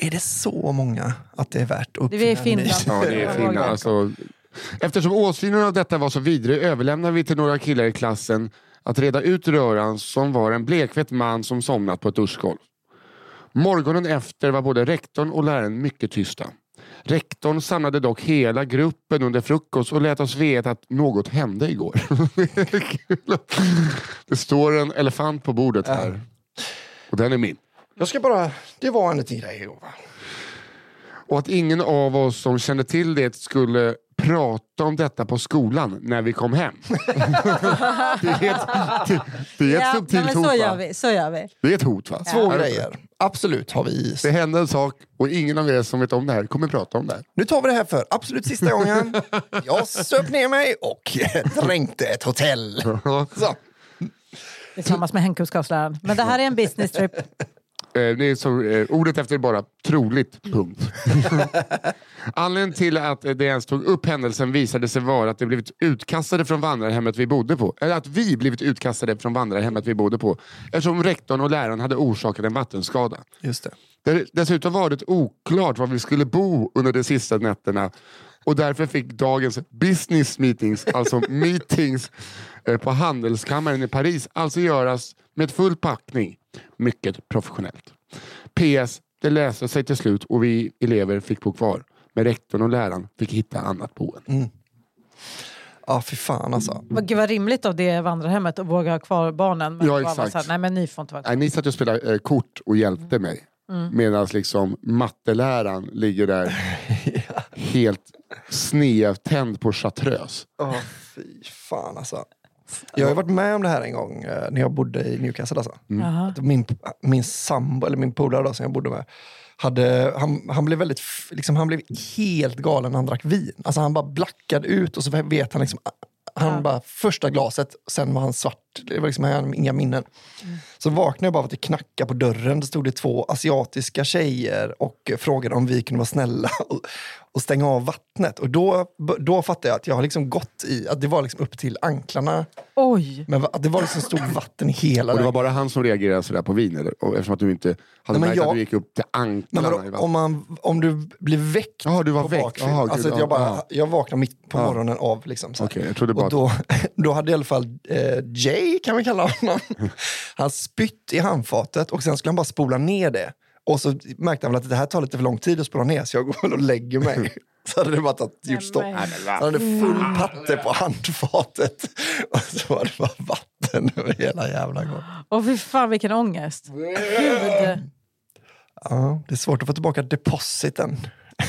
[SPEAKER 1] Är det så många att det är värt att
[SPEAKER 2] Det är i
[SPEAKER 1] uppfinna en ny?
[SPEAKER 2] Finland.
[SPEAKER 3] Ja, det är
[SPEAKER 2] Jag
[SPEAKER 3] fina.
[SPEAKER 2] vågar.
[SPEAKER 3] Alltså, eftersom åsynen av detta var så vidrig överlämnade vi till några killar i klassen att reda ut röran som var en blekfet man som somnat på ett duschgolv. Morgonen efter var både rektorn och läraren mycket tysta. Rektorn samlade dock hela gruppen under frukost och lät oss veta att något hände igår. Det är kul. det står en elefant på bordet här. Och den är min.
[SPEAKER 1] Jag ska bara... Det var en liten grej. Ova.
[SPEAKER 3] Och att ingen av oss som kände till det skulle prata om detta på skolan när vi kom hem. det är ett, det, det är ett
[SPEAKER 2] Ja,
[SPEAKER 3] subtilt
[SPEAKER 2] men
[SPEAKER 3] hot
[SPEAKER 2] så gör
[SPEAKER 3] va?
[SPEAKER 2] vi. Så gör vi.
[SPEAKER 3] Det är ett hot va?
[SPEAKER 1] Två
[SPEAKER 3] Är det inte?
[SPEAKER 1] grejer. Absolut har vi is.
[SPEAKER 3] Det hände en sak och ingen av er som vet om det här kommer prata om det här.
[SPEAKER 1] Nu tar vi det här för absolut sista gången. Jag söp ner mig och dränkte ett hotell. Så.
[SPEAKER 2] Det är samma som med hemkunskapsläraren. Men det här är en business trip.
[SPEAKER 3] Eh, Det är så, eh, ordet efter är bara troligt, punkt. Anledningen till att eh, det ens tog upp händelsen visade sig vara att det blivit utkastade från vandrarhemmet vi bodde på. Eller att vi blivit utkastade från vandrarhemmet vi bodde på. Eftersom rektorn och läraren hade orsakat en vattenskada.
[SPEAKER 1] Just det.
[SPEAKER 3] Det har dessutom varit oklart var vi skulle bo under de sista nätterna och därför fick dagens business meetings, alltså meetings eh, på Handelskammaren i Paris, alltså göras med full packning. Mycket professionellt. PS. Det löste sig till slut och vi elever fick bo kvar. Men rektorn och läraren fick hitta annat boende.
[SPEAKER 1] Ja, fy fan alltså.
[SPEAKER 2] Vad- Gud vad rimligt av det vandrarhemmet att våga ha kvar barnen. Men
[SPEAKER 3] Ja,
[SPEAKER 2] det var bara
[SPEAKER 3] exakt.
[SPEAKER 2] Så här, nej men ni får inte vara kvar.
[SPEAKER 3] Nej, Ni satt och spelade eh, kort och hjälpte mig. Medan liksom matteläraren ligger där helt snedtänd på chartreuse.
[SPEAKER 1] Ja, fy fan alltså. Jag har ju varit med om det här en gång eh, när jag bodde i Newcastle. Alltså.
[SPEAKER 2] Jaha.
[SPEAKER 1] Att Min, min sambo, eller min polare då, som jag bodde med, hade, han, han, blev väldigt, f- liksom, han blev helt galen när han drack vin. Alltså, han bara blackade ut och så vet han liksom, han bara, första glaset, sen var han svart. Det var liksom, han hade inga minnen. Så vaknade jag bara av att det knackade på dörren. Då stod det två asiatiska tjejer och eh, frågade om vi kunde vara snälla och, och stänga av vattnet. Och då, då fattade jag att jag har liksom gått i, att det var liksom upp till anklarna.
[SPEAKER 2] Oj!
[SPEAKER 1] Men va- att det var liksom stort vatten i hela
[SPEAKER 3] Och det
[SPEAKER 1] vägen.
[SPEAKER 3] var bara han som reagerade sådär på vin? Eller? Och eftersom att du inte hade
[SPEAKER 1] Nej, men
[SPEAKER 3] märkt att
[SPEAKER 1] jag-
[SPEAKER 3] du gick upp till
[SPEAKER 1] Men
[SPEAKER 3] anklarna i
[SPEAKER 1] vadå,
[SPEAKER 3] vattnet?
[SPEAKER 1] om, man, om du blir väckt
[SPEAKER 3] Jaha, du var
[SPEAKER 1] på
[SPEAKER 3] väckt.
[SPEAKER 1] bakfyllan.
[SPEAKER 3] Jaha, gud,
[SPEAKER 1] alltså, att
[SPEAKER 3] ja,
[SPEAKER 1] jag, bara,
[SPEAKER 3] ja.
[SPEAKER 1] jag vaknade mitt på morgonen av. Liksom, så här.
[SPEAKER 3] Okej, jag trodde bara
[SPEAKER 1] och då, då hade i alla fall eh, Jay, kan vi kalla honom, han spytt i handfatet och sen skulle han bara spola ner det. Och så märkte han väl att det här tar lite för lång tid att spola ner så jag går väl och lägger mig. Så hade det bara tagit, gjort stopp.
[SPEAKER 2] Nej,
[SPEAKER 1] Han hade full patte på handfatet och så var det bara vatten över hela jävla gången.
[SPEAKER 2] Åh fy fan vilken ångest. Gud.
[SPEAKER 1] Ja, det är svårt att få tillbaka depositen.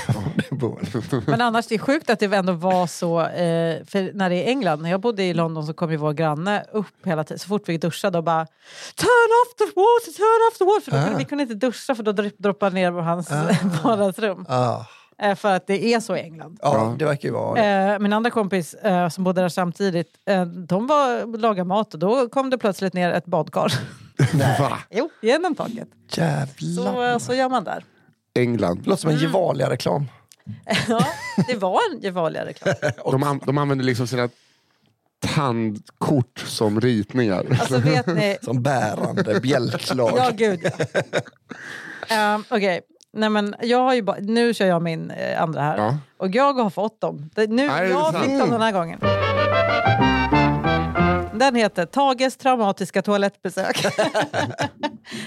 [SPEAKER 1] Det bor-
[SPEAKER 2] Men annars det är sjukt att det ändå var så. Eh, för när det är England, när jag bodde i London så kom ju vår granne upp hela tiden. Så fort vi duschade och bara Turn off the water, turn off the water. För då
[SPEAKER 3] Ah.
[SPEAKER 2] kunde, vi kunde inte duscha för då dri- droppade ner på hans vardagsrum.
[SPEAKER 1] ah.
[SPEAKER 2] Eh, för att det är så i England.
[SPEAKER 1] Ja, det verkar ju vara det.
[SPEAKER 2] Eh, min andra kompis eh, som bodde där samtidigt, eh, de var lagade mat och då kom det plötsligt ner ett badkar.
[SPEAKER 3] Va?
[SPEAKER 2] jo, genom taket. Så, Mm.
[SPEAKER 1] Jävlar.
[SPEAKER 2] eh, så gör man där.
[SPEAKER 3] England?
[SPEAKER 1] Låter som en Gevalia-reklam.
[SPEAKER 2] Ja, det var en Gevalia reklam.
[SPEAKER 3] De, an, de använder liksom sina tandkort som ritningar.
[SPEAKER 2] Alltså vet ni,
[SPEAKER 1] Som bärande bjälklag.
[SPEAKER 2] ja gud. Um, Okej, nej men jag har ju ba- nu kör jag min eh, andra här.
[SPEAKER 3] Ja.
[SPEAKER 2] Och jag har fått dem. Det, nu,
[SPEAKER 3] Nej, det är
[SPEAKER 2] jag
[SPEAKER 3] sant.
[SPEAKER 2] fick dem den här gången. Den heter Tages traumatiska toalettbesök.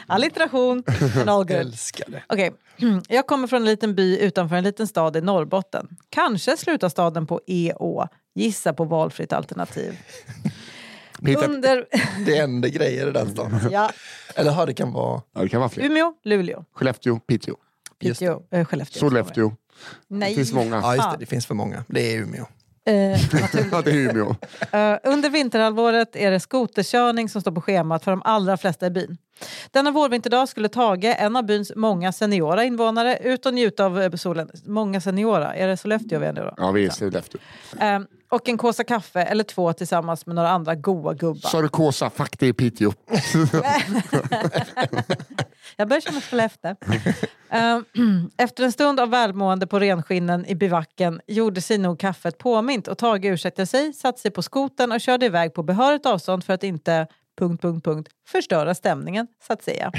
[SPEAKER 2] Allitteration, men all good.
[SPEAKER 1] Älskar det.
[SPEAKER 2] Okej, jag kommer från en liten by utanför en liten stad i Norrbotten. Kanske slutar staden på EÅ. Gissa på valfritt alternativ.
[SPEAKER 3] Hitta-
[SPEAKER 2] Under...
[SPEAKER 1] Det händer grejer i den stan.
[SPEAKER 2] ja,
[SPEAKER 1] Eller ja, det kan vara...
[SPEAKER 3] Ja, det kan vara fler.
[SPEAKER 2] Umeå, Luleå,
[SPEAKER 3] Skellefteå, Piteå,
[SPEAKER 1] Just det.
[SPEAKER 2] Piteå, eh, Skellefteå.
[SPEAKER 3] Sollefteå.
[SPEAKER 2] Nej.
[SPEAKER 3] Det finns många.
[SPEAKER 1] Ja, just det.
[SPEAKER 2] Fan.
[SPEAKER 1] Det finns för många. Det är Umeå.
[SPEAKER 2] Eh,
[SPEAKER 3] Ja, det är Umeå.
[SPEAKER 2] Eh, under vinterhalvåret är det skoterkörning som står på schemat för de allra flesta i byn. Denna vårvinterdag skulle Tage, en av byns många seniora invånare, ut och njuta av eh, solen. Många seniora, är det Sollefteå vi är nu då?
[SPEAKER 3] Ja, vi är i Sollefteå.
[SPEAKER 2] Eh, och en kåsa kaffe eller två tillsammans med några andra goa gubbar.
[SPEAKER 3] Sa du Kåsa? Fuck, det är Piteå.
[SPEAKER 2] Jag börjar känna Skellefteå. Eh, Efter en stund av välmående på renskinnen i bivacken gjorde sig nog kaffet påmint och Tage ursäktade sig, satte sig på skoten och körde iväg på behörigt avstånd för att inte punkt, punkt, punkt, förstöra stämningen, så att säga.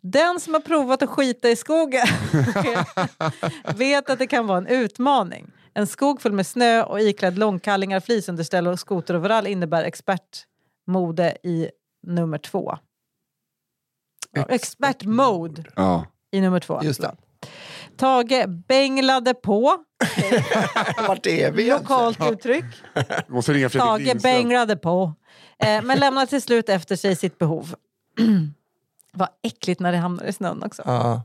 [SPEAKER 2] Den som har provat att skita i skogen vet att det kan vara en utmaning. En skog full med snö och iklädd långkallingar, flisunderställ och skoteroverall innebär expertmode i nummer två. Ja, Expertmode
[SPEAKER 3] Ja.
[SPEAKER 2] i nummer två.
[SPEAKER 1] Just det.
[SPEAKER 2] Tage bänglade på,
[SPEAKER 1] Vart är vi egentligen?
[SPEAKER 2] lokalt uttryck.
[SPEAKER 3] Vi måste ringa Fredrik
[SPEAKER 2] Tage
[SPEAKER 3] Lindström.
[SPEAKER 2] bänglade på, eh, men lämnade till slut efter sig sitt behov. Vad äckligt när det hamnar i snön också.
[SPEAKER 1] Ja.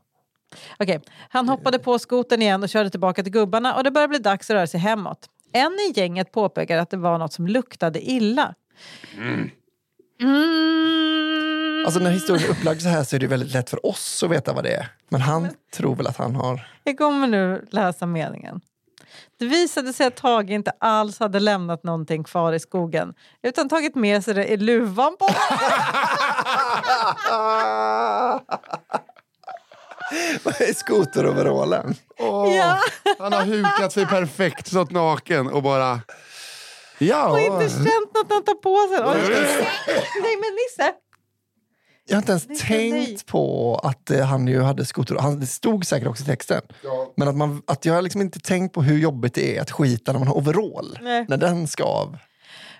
[SPEAKER 2] Okej, Han hoppade på skoten igen och körde tillbaka till gubbarna och det började bli dags att röra sig hemåt. En i gänget påpekade att det var något som luktade illa. Mm.
[SPEAKER 1] Alltså när historien är upplagd så här så är det väldigt lätt för oss att veta vad det är. Men han tror väl att han har...
[SPEAKER 2] Jag kommer nu läsa meningen. Det visade sig att Tage inte alls hade lämnat någonting kvar i skogen utan tagit med sig det i luvan på
[SPEAKER 1] Ah! Vad är skoteroverallen?
[SPEAKER 3] Åh,
[SPEAKER 2] Ja.
[SPEAKER 3] Han har hukat sig perfekt, stått naken och bara...
[SPEAKER 2] och
[SPEAKER 3] Ja,
[SPEAKER 2] inte känt något han tar på sig. Och- Nej men Nisse!
[SPEAKER 1] Jag har inte ens
[SPEAKER 2] Nej,
[SPEAKER 1] tänkt
[SPEAKER 2] nej.
[SPEAKER 1] på att eh, han ju hade skoter. Han, det stod säkert också i texten.
[SPEAKER 3] Ja.
[SPEAKER 1] Men att, man, att jag har liksom inte tänkt på hur jobbigt det är att skita när man har overall.
[SPEAKER 2] Nej.
[SPEAKER 1] När den ska av.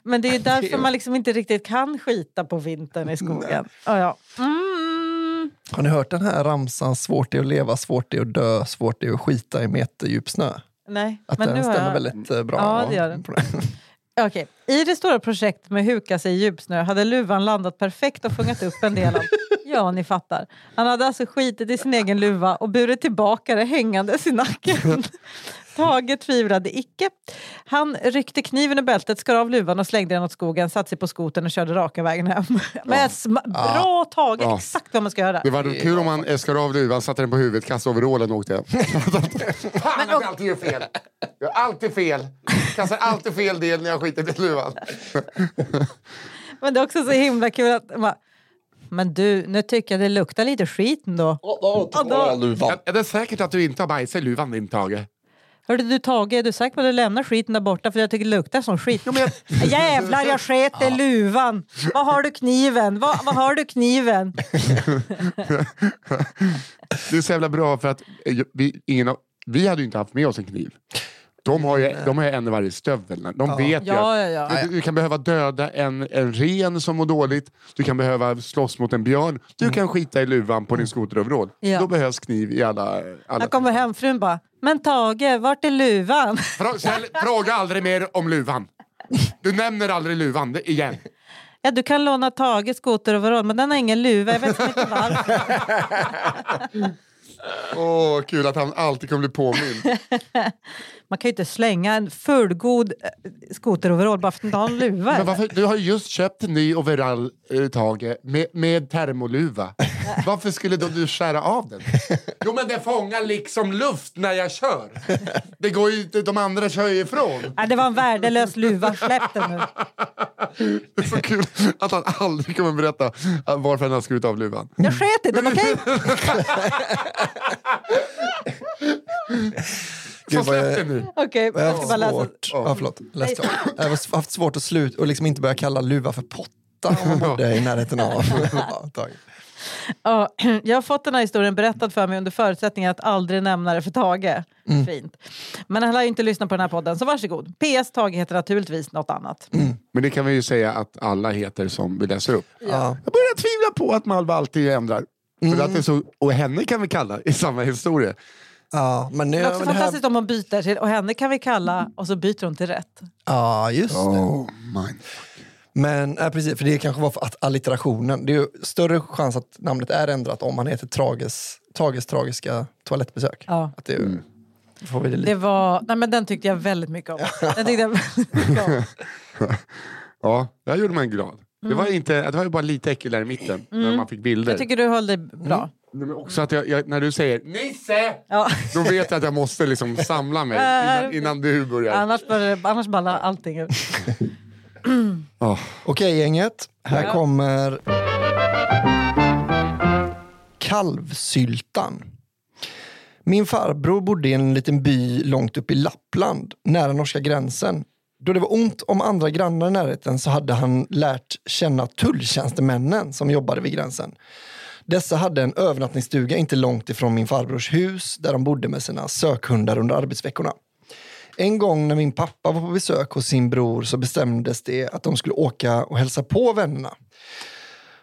[SPEAKER 2] Men det är ju
[SPEAKER 1] Det
[SPEAKER 2] därför
[SPEAKER 1] är-
[SPEAKER 2] man liksom inte riktigt kan skita på vintern i skogen. Ja, ja. Mm.
[SPEAKER 1] Har ni hört den här ramsan? Svårt det är att leva, svårt det är att dö, svårt det är att skita i meterdjup snö.
[SPEAKER 2] Nej,
[SPEAKER 1] Att
[SPEAKER 2] men nu
[SPEAKER 1] den
[SPEAKER 2] har
[SPEAKER 1] stämmer
[SPEAKER 2] jag...
[SPEAKER 1] väldigt eh, bra.
[SPEAKER 2] Ja, det gör den. Okej. I det stora projektet med huka sig i djupsnö hade luvan landat perfekt och fångat upp en del av... Ja, ni fattar. Han hade alltså skitit i sin egen luva och burit tillbaka det hängandes i nacken. Tage tvivlade icke. Han ryckte kniven ur bältet, skar av luvan och slängde den åt skogen, satte sig på skoten och körde raka vägen hem. Men sma- bra Tage!
[SPEAKER 3] Ja.
[SPEAKER 2] Exakt vad man ska göra.
[SPEAKER 3] Det var kul om han skar av luvan, satte den på huvudet, kastade overallen och åkte hem. Fan att jag alltid gör fel! Jag gör alltid fel. Kastar alltid fel del när jag skiter i luvan.
[SPEAKER 2] Men det är också så himla kul att... man bara, Men du, nu tycker jag det luktar lite skit ändå.
[SPEAKER 3] Är- Är det säkert att du inte har bajsat i luvan din Tage?
[SPEAKER 2] Hörde du Tage, är du säker på att du lämnar skiten där borta för jag tycker det luktar som skit? Jävlar, jag sket i luvan! Var har du kniven? Var, var har du kniven?
[SPEAKER 3] Det är så jävla bra för att eh, vi, ingen av, vi hade ju inte haft med oss en kniv. De har ju, de har ju en i varje stövel. De vet ju
[SPEAKER 2] Ja, ja,
[SPEAKER 3] att
[SPEAKER 2] ja.
[SPEAKER 3] Du, du kan behöva döda en, en ren som mår dåligt, du kan behöva slåss mot en björn, du kan skita i luvan på din skoteroverall.
[SPEAKER 2] Ja.
[SPEAKER 3] Då behövs kniv i alla... alla
[SPEAKER 2] När kommer hemfrun bara, men Tage, vart är luvan?
[SPEAKER 3] Fra- ställ, fråga aldrig mer om luvan. Du nämner aldrig luvan det- igen.
[SPEAKER 2] Ja, du kan låna Tages skoteroverall, men den har ingen luva. Jag vet inte varför.
[SPEAKER 3] Åh, kul att han alltid kommer bli påmind.
[SPEAKER 2] Man kan ju inte slänga en fullgod eh, skoteroverall bara för att den inte har en luva.
[SPEAKER 3] Men
[SPEAKER 2] eller?
[SPEAKER 3] varför, du har ju just köpt en ny overall, eh, Tage, med, med termoluva. Varför skulle då du skära av den? Jo, men det fångar liksom luft när jag kör. Det går ju, inte- de andra kör ju ifrån.
[SPEAKER 2] Nej, det var en värdelös luva. Släpp den nu.
[SPEAKER 3] Det är så kul att han aldrig kommer berätta eh, varför han har skurit av luvan.
[SPEAKER 2] Jag sket i den, okej?
[SPEAKER 1] Gud, vad
[SPEAKER 3] släpp det
[SPEAKER 1] jag,
[SPEAKER 3] nu.
[SPEAKER 2] Okej,
[SPEAKER 1] vad jag
[SPEAKER 2] jag ska bara
[SPEAKER 1] har haft
[SPEAKER 2] läsa.
[SPEAKER 1] svårt, ja, förlåt, läs klart. jag har s- haft svårt att sluta och liksom inte börja kalla luva för potta om man bodde i närheten av. Ja, antagligen.
[SPEAKER 2] Ja, jag har fått den här historien berättad för mig under förutsättning att aldrig nämna det för Tage.
[SPEAKER 1] Mm.
[SPEAKER 2] Fint. Men han lär ju inte lyssna på den här podden, så varsågod. PS Tage heter naturligtvis något annat.
[SPEAKER 1] Mm.
[SPEAKER 3] Men det kan vi ju säga att alla heter som vi läser upp.
[SPEAKER 1] ja.
[SPEAKER 3] Jag börjar tvivla på att Malva alltid ändrar. För
[SPEAKER 2] Mm.
[SPEAKER 3] att det är så, och henne kan vi kalla i samma historia.
[SPEAKER 1] ja, men nu...
[SPEAKER 2] det är också
[SPEAKER 1] men det här-
[SPEAKER 2] fantastiskt om man byter till, och henne kan vi kalla, och så byter hon till rätt.
[SPEAKER 1] Ja, just det.
[SPEAKER 3] Oh, mine.
[SPEAKER 1] Men nej, precis, för det kanske var för att allitterationen. Det är ju större chans att namnet är ändrat om man heter Trages, Tages tragiska toalettbesök.
[SPEAKER 2] Ja.
[SPEAKER 1] Att det, är- då får vi det lite.
[SPEAKER 2] Det var, nej men den tyckte jag väldigt mycket om. Den tyckte jag väldigt mycket om.
[SPEAKER 3] Ja, där gjorde man glad. Det, var inte, det var ju bara lite äckel där i mitten, när man fick bilder.
[SPEAKER 2] Mm. Jag tycker du höll dig bra.
[SPEAKER 1] Mm.
[SPEAKER 3] Men också att jag, jag, när du säger Nisse,
[SPEAKER 2] Ja.
[SPEAKER 3] då vet jag att jag måste liksom samla mig innan, innan du börjar.
[SPEAKER 2] Annars, börjar det- annars ballar allting ur.
[SPEAKER 3] Oh.
[SPEAKER 1] Okej gänget, här kommer kalvsyltan. Min farbror bodde i en liten by långt upp i Lappland, nära norska gränsen. Då det var ont om andra grannar i närheten så hade han lärt känna tulltjänstemännen som jobbade vid gränsen. Dessa hade en övernattningsstuga inte långt ifrån min farbrors hus där de bodde med sina sökhundar under arbetsveckorna. En gång när min pappa var på besök hos sin bror så bestämdes det att de skulle åka och hälsa på vännerna.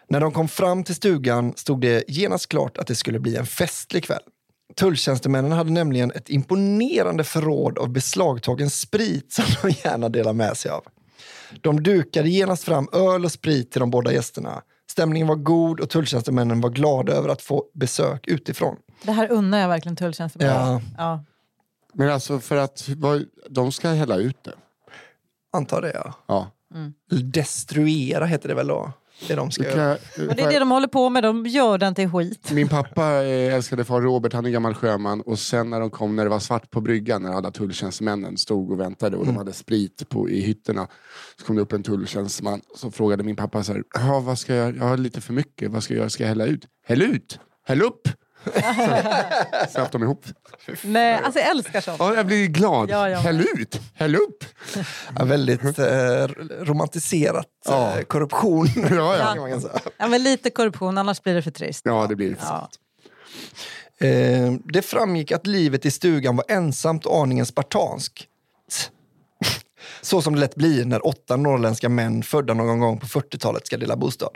[SPEAKER 1] När de kom fram till stugan stod det genast klart att det skulle bli en festlig kväll. Tulltjänstemännen hade nämligen ett imponerande förråd av beslagtagen sprit som de gärna delar med sig av. De dukade genast fram öl och sprit till de båda gästerna. Stämningen var god och tulltjänstemännen var glada över att få besök utifrån.
[SPEAKER 2] Det här unnar jag verkligen tulltjänstemännen.
[SPEAKER 1] Ja.
[SPEAKER 2] Ja.
[SPEAKER 3] Men alltså för att vad, de ska hälla ut det.
[SPEAKER 1] Antar det, ja.
[SPEAKER 3] Ja.
[SPEAKER 1] Destruera heter det väl då? Det de ska
[SPEAKER 3] Du
[SPEAKER 1] göra.
[SPEAKER 3] kan,
[SPEAKER 2] Och det är det de håller på med, de gör den till skit.
[SPEAKER 3] Min pappa eh, älskade far Robert, han är gammal sjöman. Och sen när de kom, när det var svart på bryggan, när alla tulltjänstemännen stod och väntade och de hade sprit på, i hytterna. Så kom det upp en tulltjänsteman så frågade min pappa så här, "Ja, vad ska jag, jag har lite för mycket, vad ska jag göra, ska jag hälla ut? Häll ut! Häll upp! Så Snabbt de ihop.
[SPEAKER 2] Nej, alltså jag älskar sånt.
[SPEAKER 3] Ja, jag blir glad.
[SPEAKER 2] Ja, jag med.
[SPEAKER 3] Häll ut! Häll upp!
[SPEAKER 1] Ja, väldigt eh, romantiserat
[SPEAKER 3] Mm. Ja.
[SPEAKER 1] eh, korruption.
[SPEAKER 3] Ja, ja.
[SPEAKER 1] kan man säga.
[SPEAKER 2] Ja, men lite korruption, annars blir det för trist.
[SPEAKER 3] ja det blir
[SPEAKER 2] Ja.
[SPEAKER 1] Eh, det framgick att livet i stugan var ensamt och aningen spartanskt. Så som det lätt blir när åtta norrländska män födda någon gång på 40-talet ska dela bostad.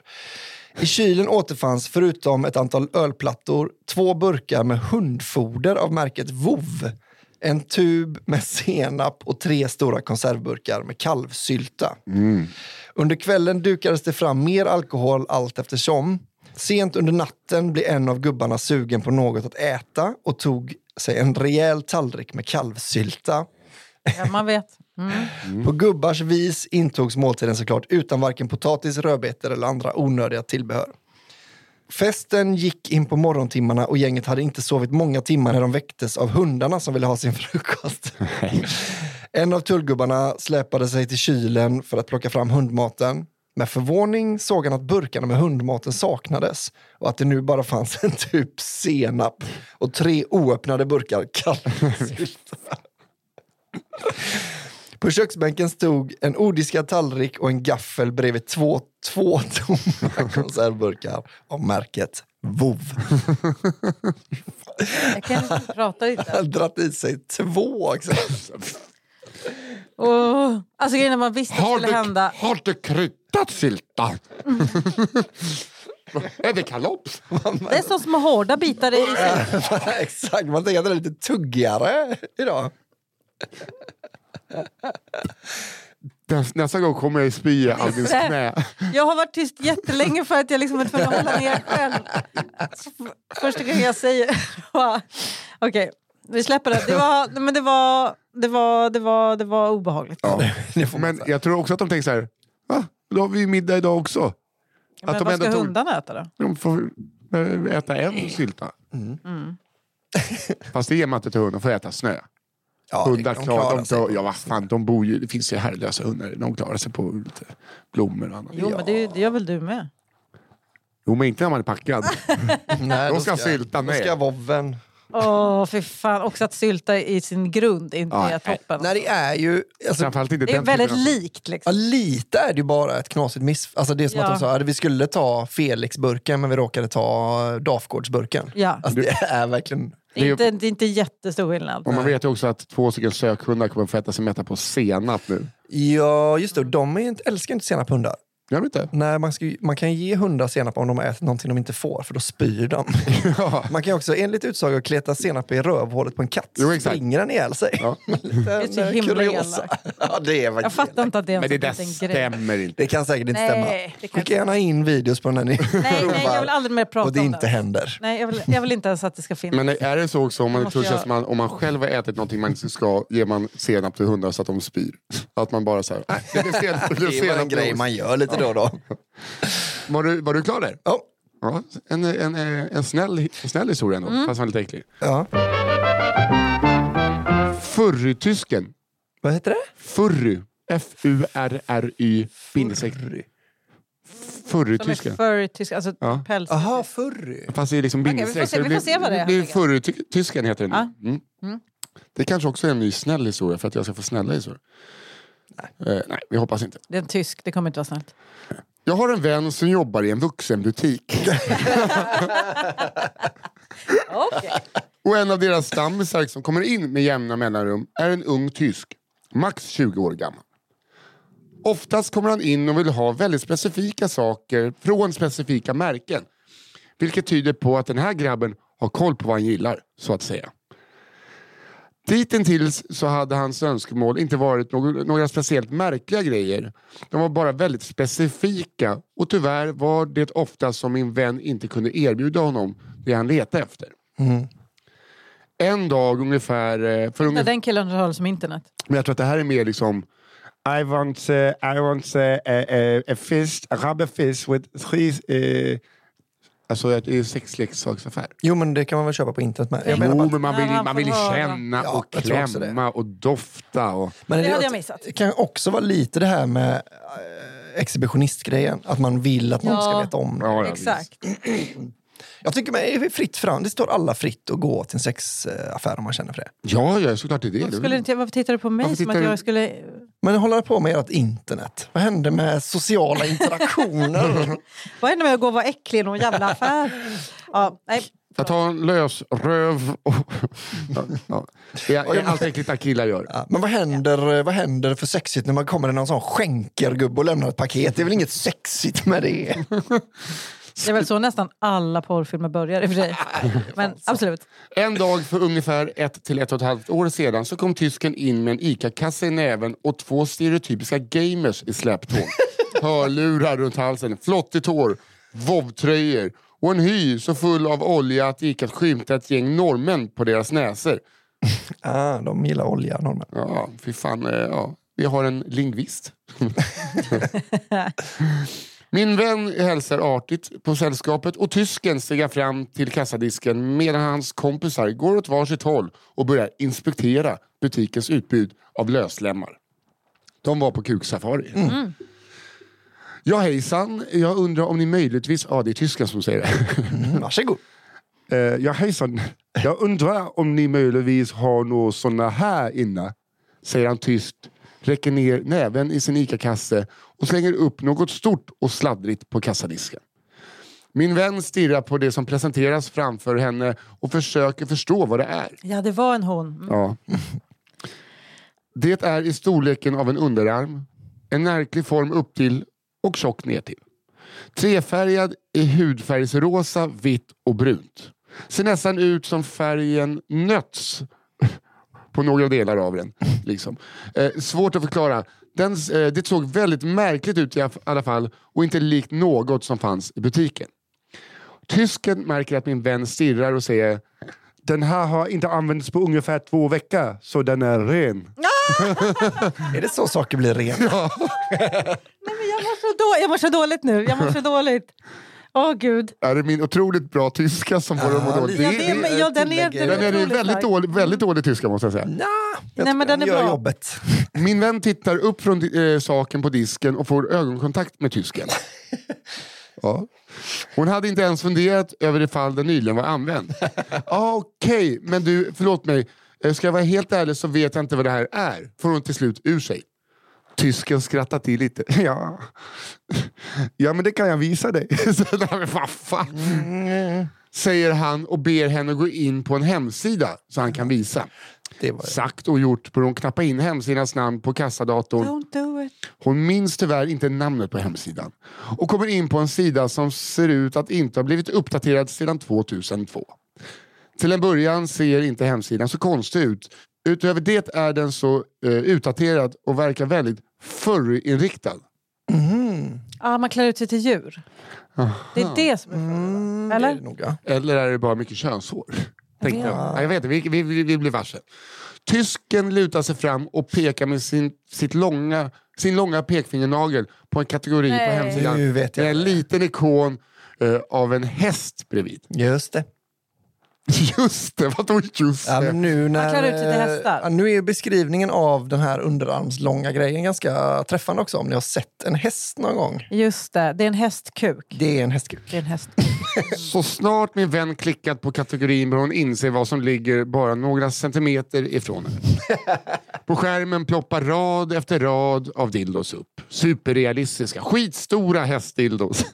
[SPEAKER 1] I kylen återfanns, förutom ett antal ölplattor, två burkar med hundfoder av märket Vov, en tub med senap och tre stora konservburkar med kalvsylta. Under kvällen dukades det fram mer alkohol allt eftersom. Sent under natten blev en av gubbarna sugen på något att äta och tog sig en rejäl tallrik med kalvsylta.
[SPEAKER 2] Ja, man vet. Mm.
[SPEAKER 1] På gubbars vis intogs måltiden såklart utan varken potatis, rödbetor eller andra onödiga tillbehör. Festen gick in på morgontimmarna och gänget hade inte sovit många timmar när de väcktes av hundarna som ville ha sin frukost. en av tullgubbarna släpade sig till kylen för att plocka fram hundmaten. Med förvåning såg han att burkarna med hundmaten saknades och att det nu bara fanns en typ senap och tre oöppnade burkar kallsylta. På köksbänken stod en odiskad tallrik och en gaffel bredvid två, två tomma konservburkar av märket Vov.
[SPEAKER 2] Jag kan inte prata inte.
[SPEAKER 1] Han dratt i sig två. också.
[SPEAKER 2] Oh. Alltså grejen är, man visste att det
[SPEAKER 3] Har
[SPEAKER 2] skulle
[SPEAKER 3] du,
[SPEAKER 2] hända.
[SPEAKER 3] har du kryddat syltan? är det kalops?
[SPEAKER 2] Det är som små hårda bitar i sig.
[SPEAKER 1] Exakt, man tänker att det är lite tuggigare idag.
[SPEAKER 3] Näs- Nästa gång kommer jag spy i Albins
[SPEAKER 2] Nisse.
[SPEAKER 3] knä.
[SPEAKER 2] Jag har varit tyst jättelänge för att jag liksom inte kunde hålla ner själv. Så f- Första gången jag säger... Okej, vi släpper det. Det var, nej, men det var, det var, det var, det var obehagligt.
[SPEAKER 1] Det får man
[SPEAKER 3] Men
[SPEAKER 1] säga.
[SPEAKER 3] jag tror också att de tänker så här, va? Då har vi ju middag idag också.
[SPEAKER 2] Men
[SPEAKER 3] att de
[SPEAKER 2] vad
[SPEAKER 3] ändå
[SPEAKER 2] ska
[SPEAKER 3] tog-
[SPEAKER 2] hundarna äta då?
[SPEAKER 3] De får eh, äta
[SPEAKER 2] Mm.
[SPEAKER 3] en sylta. Fast det ger man inte till hunden, de får äta snö.
[SPEAKER 1] Ja,
[SPEAKER 3] Hundar
[SPEAKER 1] de
[SPEAKER 3] klarar, de
[SPEAKER 1] sig.
[SPEAKER 3] klarar, ja, vad fan, de bor ju, det finns ju herrelösa hundar, de klarar sig på lite blommor och annat.
[SPEAKER 2] Jo, men det, är ju- det gör väl du med?
[SPEAKER 3] Jo men inte när man är packad.
[SPEAKER 1] Nej,
[SPEAKER 3] De ska sylta
[SPEAKER 1] Då
[SPEAKER 3] med.
[SPEAKER 1] ska vovven
[SPEAKER 2] Åh, fy fan. Också att sylta i sin grund inte
[SPEAKER 3] Ja,
[SPEAKER 2] är toppen.
[SPEAKER 1] Nej, det är ju... Alltså,
[SPEAKER 3] Framförallt inte
[SPEAKER 2] det är
[SPEAKER 3] den
[SPEAKER 2] väldigt
[SPEAKER 3] typen av-
[SPEAKER 2] likt.
[SPEAKER 1] ja,
[SPEAKER 2] Liksom.
[SPEAKER 1] lite är det ju bara ett knasigt miss... Alltså det är som att de
[SPEAKER 2] Ja.
[SPEAKER 1] sa att vi skulle ta Felix-burken men vi råkade ta Dafgårdsburken.
[SPEAKER 2] Ja.
[SPEAKER 1] Alltså det är verkligen...
[SPEAKER 3] det är ju-
[SPEAKER 2] Inte, det är inte jättestor skillnad.
[SPEAKER 3] Och man vet ju också att två stycken sökhundar kommer få äta sig mätta på senap nu.
[SPEAKER 1] Ja, just det. och De är ju inte, älskar ju inte senap hundar.
[SPEAKER 3] Gör de inte?
[SPEAKER 1] Nej, man, ska, ju- man kan ge hundar senap om de har ätit någonting de inte får, för då spyr de.
[SPEAKER 3] Ja.
[SPEAKER 1] Man kan också enligt utsago kleta senap i rövhålet på en katt.
[SPEAKER 3] Jo,
[SPEAKER 1] så
[SPEAKER 3] exakt.
[SPEAKER 1] springer den ihjäl sig.
[SPEAKER 3] Ja.
[SPEAKER 1] det
[SPEAKER 2] är så himla
[SPEAKER 1] ja, det är
[SPEAKER 2] Jag
[SPEAKER 1] faktiskt
[SPEAKER 2] fattar inte att det är en
[SPEAKER 3] Men
[SPEAKER 2] sån
[SPEAKER 3] det där
[SPEAKER 2] liten grej.
[SPEAKER 3] stämmer inte.
[SPEAKER 1] Det kan säkert inte stämma.
[SPEAKER 2] Nej, det kan
[SPEAKER 1] Skicka gärna in videos på när ni
[SPEAKER 2] Nej, nej, jag vill aldrig mer prata
[SPEAKER 1] och det
[SPEAKER 2] om
[SPEAKER 1] inte
[SPEAKER 2] det.
[SPEAKER 1] händer.
[SPEAKER 2] Nej, jag vill, jag vill inte ens att det ska finnas.
[SPEAKER 3] Men är det så också om man,
[SPEAKER 2] Måste
[SPEAKER 3] tror jag...
[SPEAKER 2] jag-
[SPEAKER 3] man, om man själv har ätit någonting man inte ska, ger man senap till hundar så att de spyr? Att man bara så här, "Nej, det blev senap, det blev
[SPEAKER 1] Det är bara en
[SPEAKER 3] senap
[SPEAKER 1] grej
[SPEAKER 3] till
[SPEAKER 1] man gör lite då och då.
[SPEAKER 3] oss." var, du, var du klar där?
[SPEAKER 1] Ja.
[SPEAKER 3] Ja, en, en, en, snäll, en snäll historia
[SPEAKER 2] Mm.
[SPEAKER 3] ändå, fast man är lite äcklig.
[SPEAKER 1] Ja.
[SPEAKER 3] Furrytysken.
[SPEAKER 1] Vad heter det?
[SPEAKER 3] Furry. F-U-R-R-Y. Bindestreck.
[SPEAKER 2] Som är
[SPEAKER 3] Furrytysken.
[SPEAKER 2] furrytyska, alltså
[SPEAKER 3] Ja.
[SPEAKER 2] päls.
[SPEAKER 1] Aha, furry.
[SPEAKER 3] Fast det är liksom
[SPEAKER 2] vi får
[SPEAKER 3] bindestreck.
[SPEAKER 2] se-
[SPEAKER 3] så
[SPEAKER 2] vi får
[SPEAKER 3] blir-
[SPEAKER 2] se vad det är,
[SPEAKER 3] Det blir
[SPEAKER 2] helt
[SPEAKER 3] furrytysken heter den.
[SPEAKER 2] Ja.
[SPEAKER 3] Mm. Det kanske också är en ny snäll historia för att jag ska få snälla historier. Nej. Eh, nej, vi hoppas inte.
[SPEAKER 2] Det är en tysk, det kommer inte vara snällt.
[SPEAKER 3] Jag har en vän som jobbar i en vuxenbutik.
[SPEAKER 2] Okej.
[SPEAKER 3] Och en av deras stammisar som kommer in med jämna mellanrum är en ung tysk, max 20 år gammal. Oftast kommer han in och vill ha väldigt specifika saker från specifika märken. Vilket tyder på att den här grabben har koll på vad han gillar, så att säga. Ditintills så hade hans önskemål inte varit någ- några speciellt märkliga grejer. De var bara väldigt specifika och tyvärr var det ofta som min vän inte kunde erbjuda honom det han letade efter. En dag ungefär, eh, för
[SPEAKER 2] Nej,
[SPEAKER 3] ungefär
[SPEAKER 2] Den killen har som internet.
[SPEAKER 3] men jag tror att det här är mer liksom... eh,
[SPEAKER 4] I want uh, I want uh, a, a, a fish, a rubber fish with three. Uh,
[SPEAKER 3] eh, Alltså det är ju sexleksaksaffär.
[SPEAKER 1] Jo, men det kan man väl köpa på internet med. Jag menar
[SPEAKER 3] Jo,
[SPEAKER 1] bara,
[SPEAKER 3] men man vill,
[SPEAKER 2] Ja, han
[SPEAKER 3] man
[SPEAKER 2] får
[SPEAKER 3] vill
[SPEAKER 2] höra.
[SPEAKER 3] känna
[SPEAKER 1] Ja,
[SPEAKER 3] och
[SPEAKER 1] jag tror också det.
[SPEAKER 3] klämma och dofta. Och,
[SPEAKER 1] men
[SPEAKER 2] Det hade jag missat.
[SPEAKER 1] Det kan också vara lite det här med eh, exhibitionistgrejen. Att man vill att någon
[SPEAKER 2] Ja.
[SPEAKER 1] ska veta om det.
[SPEAKER 3] Ja, ja,
[SPEAKER 2] Exakt.
[SPEAKER 1] Jag tycker mig är fritt fram. Det står alla fritt att gå till en sexaffär om man känner för det.
[SPEAKER 3] Ja, ja, såklart det är det.
[SPEAKER 2] Varför, skulle, inte- varför tittar du på mig
[SPEAKER 3] Varför
[SPEAKER 2] som att
[SPEAKER 3] tittar du-
[SPEAKER 2] jag skulle...
[SPEAKER 1] Men håller på med ert internet? Vad hände med sociala interaktioner?
[SPEAKER 2] Vad händer med att gå och vara äcklig i någon jävla affär? Ja, nej.
[SPEAKER 3] Jag tar en lös röv. Och, ja, ja. Det är, det är allt äckligt att killar gör.
[SPEAKER 1] ja, men vad händer, vad händer för sexigt när man kommer någon sån skänkergubbe och lämnar ett paket? Det är väl inget sexigt med det?
[SPEAKER 2] Det är väl så nästan alla porrfilmer börjar i och för sig. Men absolut.
[SPEAKER 3] En dag för ungefär ett till ett och ett halvt år sedan så kom tysken in med en ICA-kasse i näven och två stereotypiska gamers i släptåg. Hörlurar runt halsen, flottigt hår, vovtröjor och en hy så full av olja att det gick att skymta ett gäng norrmän på deras näsor.
[SPEAKER 1] Ah, de gillar olja, norrmän.
[SPEAKER 3] Ja, fy fan. eh, Ja. Vi har en lingvist. Min vän hälsar artigt på sällskapet och tysken stegar fram till kassadisken medan hans kompisar går åt varsitt håll och börjar inspektera butikens utbud av löslämmar. De var på kuksafari. Ja hejsan, jag undrar om ni möjligtvis... Ja, det är tysken som säger det.
[SPEAKER 1] Mm, varsågod.
[SPEAKER 3] Eh,
[SPEAKER 4] uh, ja, hejsan.
[SPEAKER 3] Jag undrar om ni möjligtvis har några såna här inne? Säger han tyst, räcker ner näven i sin ICA-kasse och slänger upp något stort och sladdrigt på kassadisken. Min vän stirrar på det som presenteras framför henne och försöker förstå vad det är.
[SPEAKER 2] Ja, det var en hon. Mm.
[SPEAKER 3] Ja. Det är i storleken av en underarm, en märklig form upp till och tjock ner till. Trefärgad i hudfärgsrosa, vitt och brunt. Ser nästan ut som färgen nöts på några delar av den. Liksom. Eh, svårt att förklara. Den, s- eh, det såg väldigt märkligt ut i aff- alla fall och inte likt något som fanns i butiken. Tysken märker att min vän stirrar och säger
[SPEAKER 4] Den här har inte använts på ungefär två veckor, så den är ren.
[SPEAKER 1] Är det så saker blir rena?
[SPEAKER 2] Men jag, mår så då, jag mår så dåligt nu. Jag mår så dåligt. Åh, gud.
[SPEAKER 3] är det min otroligt bra tyska som får dem att må dåligt?
[SPEAKER 2] Ja,
[SPEAKER 1] Det
[SPEAKER 2] det,
[SPEAKER 1] är
[SPEAKER 2] men, ja, den är, den
[SPEAKER 1] tillägget.
[SPEAKER 3] Den
[SPEAKER 2] är
[SPEAKER 3] är ju
[SPEAKER 2] otroligt
[SPEAKER 3] väldigt
[SPEAKER 2] stark.
[SPEAKER 3] dålig, väldigt dålig tyska måste jag säga.
[SPEAKER 1] Nja, jag
[SPEAKER 2] Nej, men
[SPEAKER 1] tycker
[SPEAKER 2] den är
[SPEAKER 1] gör
[SPEAKER 2] bra.
[SPEAKER 1] jobbet.
[SPEAKER 3] Min vän tittar upp från eh, saken på disken och får ögonkontakt med tysken. Ja. Hon hade inte ens funderat över ifall den nyligen var använd. ah, Okej, men du, förlåt mig. Eh, Ska jag vara helt ärlig så vet jag inte vad det här är. Får hon till slut ur sig. Tysken skrattar till lite. Ja, ja men det kan jag visa dig. så, nej, men vad fan.
[SPEAKER 1] Mm,
[SPEAKER 3] Säger han och ber henne gå in på en hemsida så han kan visa.
[SPEAKER 1] Det var
[SPEAKER 3] Sagt och gjort börjar hon knappa in hemsidans namn på kassadatorn
[SPEAKER 2] Don't do it.
[SPEAKER 3] hon minns tyvärr inte namnet på hemsidan och kommer in på en sida som ser ut att inte ha blivit uppdaterad sedan 2002. Till en början ser inte hemsidan så konstig ut. Utöver det är den så eh, utdaterad och verkar väldigt furry-inriktad.
[SPEAKER 2] Ah, man klär ut sig till djur. Det är det som är
[SPEAKER 1] Mm.
[SPEAKER 2] frågan.
[SPEAKER 1] det
[SPEAKER 2] va?
[SPEAKER 1] är
[SPEAKER 2] Eller?
[SPEAKER 1] det nog, ja.
[SPEAKER 3] Eller är det bara mycket könshår? Tänkte jag. Nej, jag vet inte, vi, vi, vi, vi blir varse. Tysken lutar sig fram och pekar med sin, sitt långa, sin långa pekfingernagel på en kategori på
[SPEAKER 2] Nej.
[SPEAKER 3] hemsidan.
[SPEAKER 1] Nu vet jag.
[SPEAKER 3] Med en liten ikon eh, av en häst bredvid.
[SPEAKER 1] Just det.
[SPEAKER 3] Just det, vadå just
[SPEAKER 1] Ja,
[SPEAKER 3] det?
[SPEAKER 1] men nu när,
[SPEAKER 2] klär ut sig till
[SPEAKER 1] eh,
[SPEAKER 2] hästar.
[SPEAKER 1] Ja, nu är ju beskrivningen av den här underarmslånga grejen ganska träffande också. Om ni har sett en häst någon gång.
[SPEAKER 2] Just det, det är en hästkuk.
[SPEAKER 1] Det är en hästkuk.
[SPEAKER 2] Det är en häst.
[SPEAKER 3] Så snart min vän klickat på kategorin bör hon inse vad som ligger bara några centimeter ifrån henne. På skärmen ploppar rad efter rad av dildos upp. Superrealistiska, skitstora hästdildos.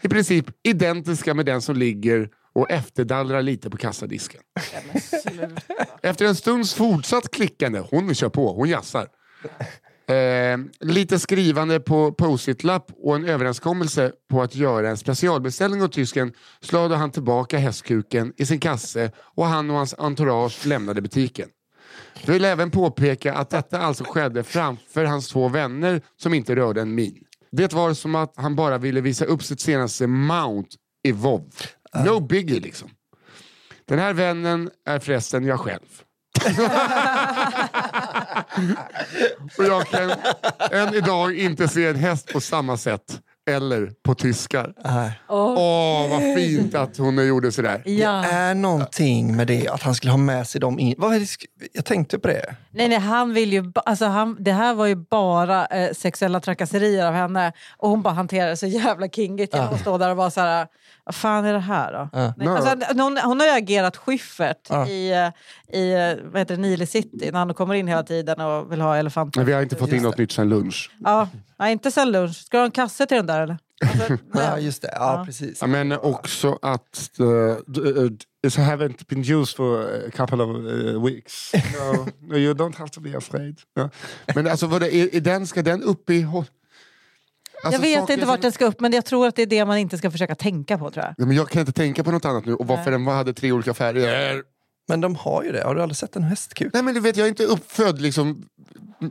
[SPEAKER 3] I princip identiska med den som ligger och efterdallrar lite på kassadisken. Efter en stunds fortsatt klickande, hon kör på, hon jassar. Eh, lite skrivande på post-it-lapp och en överenskommelse på att göra en specialbeställning åt tysken slade han tillbaka hästkuken i sin kasse och han och hans entourage lämnade butiken. Jag vill även påpeka att detta alltså skedde framför hans två vänner som inte rörde en min. Det var som att han bara ville visa upp sitt senaste mount i WoW. No biggie liksom. Den här vännen är förresten jag själv. Och jag kan än idag inte se en häst på samma sätt. Eller på tyskar.
[SPEAKER 1] Nej.
[SPEAKER 2] Åh,
[SPEAKER 3] Åh, vad fint att hon gjorde sådär.
[SPEAKER 2] ja.
[SPEAKER 1] Det är någonting med det, att han skulle ha med sig dem in. Vad är det, sk- jag tänkte på det.
[SPEAKER 2] Nej, nej, han vill ju... ba- Alltså, han, det här var ju bara eh, sexuella trakasserier av henne. Och hon bara hanterade det så jävla kingigt genom att stå där och bara så här... Vad fan är det här då?
[SPEAKER 1] Ja.
[SPEAKER 2] Nej, alltså, hon, hon har ju agerat Schyffert
[SPEAKER 1] Ja.
[SPEAKER 2] i, eh, i eh, vad heter det, Nile City när han kommer in hela tiden och vill ha elefanter.
[SPEAKER 3] Men vi har inte fått in något nytt sen lunch.
[SPEAKER 2] Ja, nej, inte sen lunch. Ska du ha en kasse till den där eller? Alltså,
[SPEAKER 1] Ja,
[SPEAKER 2] nej.
[SPEAKER 1] just det. Ja,
[SPEAKER 2] Ja.
[SPEAKER 1] precis.
[SPEAKER 3] Ja, Men också att... eh,
[SPEAKER 4] It haven't been used for a couple of uh,
[SPEAKER 3] eh,
[SPEAKER 4] weeks. No, no, you don't have to be afraid. No.
[SPEAKER 3] Men alltså, vad det, är, är den, ska den upp i... hå-
[SPEAKER 2] jag
[SPEAKER 3] Alltså,
[SPEAKER 2] vet
[SPEAKER 3] saker
[SPEAKER 2] inte vart
[SPEAKER 3] som-
[SPEAKER 2] den ska upp men jag tror att det är det man inte ska försöka tänka på tror jag.
[SPEAKER 3] Nej, men jag kan inte tänka på något annat nu. Och varför den hade tre olika färger.
[SPEAKER 1] Men de har ju det. Har du aldrig sett en hästkuk?
[SPEAKER 3] Nej men du vet, jag är inte uppfödd liksom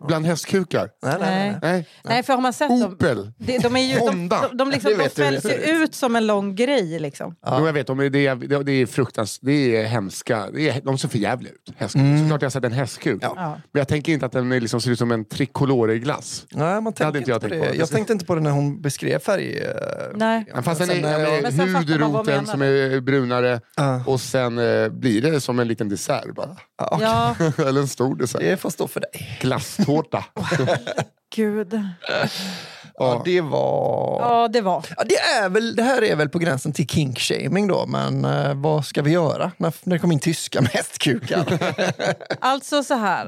[SPEAKER 3] bland hästkukar.
[SPEAKER 1] Nej,
[SPEAKER 2] Nej.
[SPEAKER 3] Nej.
[SPEAKER 2] Nej, för har man sett dem...
[SPEAKER 3] Opel.
[SPEAKER 2] De, de, är ju, de,
[SPEAKER 3] Honda.
[SPEAKER 2] de, de, liksom,
[SPEAKER 1] Det
[SPEAKER 2] de
[SPEAKER 1] vet du,
[SPEAKER 2] fälls
[SPEAKER 1] det
[SPEAKER 2] ju
[SPEAKER 1] vet du.
[SPEAKER 2] ut som en lång grej. Liksom.
[SPEAKER 1] Ja.
[SPEAKER 3] Jo, jag vet, de är, det, är, det är fruktansvärt. Det är hemska. Det är, de ser för jävliga ut. Hästkuk. Såklart jag har sett en häskkuk.
[SPEAKER 1] Ja.
[SPEAKER 2] Ja.
[SPEAKER 3] Men jag tänker inte att den är liksom ser ut som en tricoloreglass.
[SPEAKER 1] Nej, man tänker
[SPEAKER 3] hade inte
[SPEAKER 1] inte
[SPEAKER 3] jag
[SPEAKER 1] jag på
[SPEAKER 3] tänkt
[SPEAKER 1] det.
[SPEAKER 3] på.
[SPEAKER 1] Jag tänkte inte på det när hon beskrev färg... eh,
[SPEAKER 2] Nej.
[SPEAKER 3] Men Fast den är,
[SPEAKER 1] Sen, eh,
[SPEAKER 3] ja,
[SPEAKER 2] Men
[SPEAKER 3] men
[SPEAKER 2] sen fattar man vad
[SPEAKER 3] hudroten
[SPEAKER 2] menar.
[SPEAKER 3] som är brunare
[SPEAKER 1] Ja.
[SPEAKER 3] och sen eh, blir det som en liten dessert bara.
[SPEAKER 1] Ja, okej.
[SPEAKER 2] Ja,
[SPEAKER 3] Eller en stor dessert.
[SPEAKER 1] Det får stå för dig.
[SPEAKER 3] Glasstårta.
[SPEAKER 2] gud.
[SPEAKER 1] Ja, det var...
[SPEAKER 2] Ja, det var.
[SPEAKER 1] Ja, det, är väl, det här är väl på gränsen till kinkshaming då, men eh, vad ska vi göra när, när det kommer in tyska med hästkukar?
[SPEAKER 2] Alltså så här.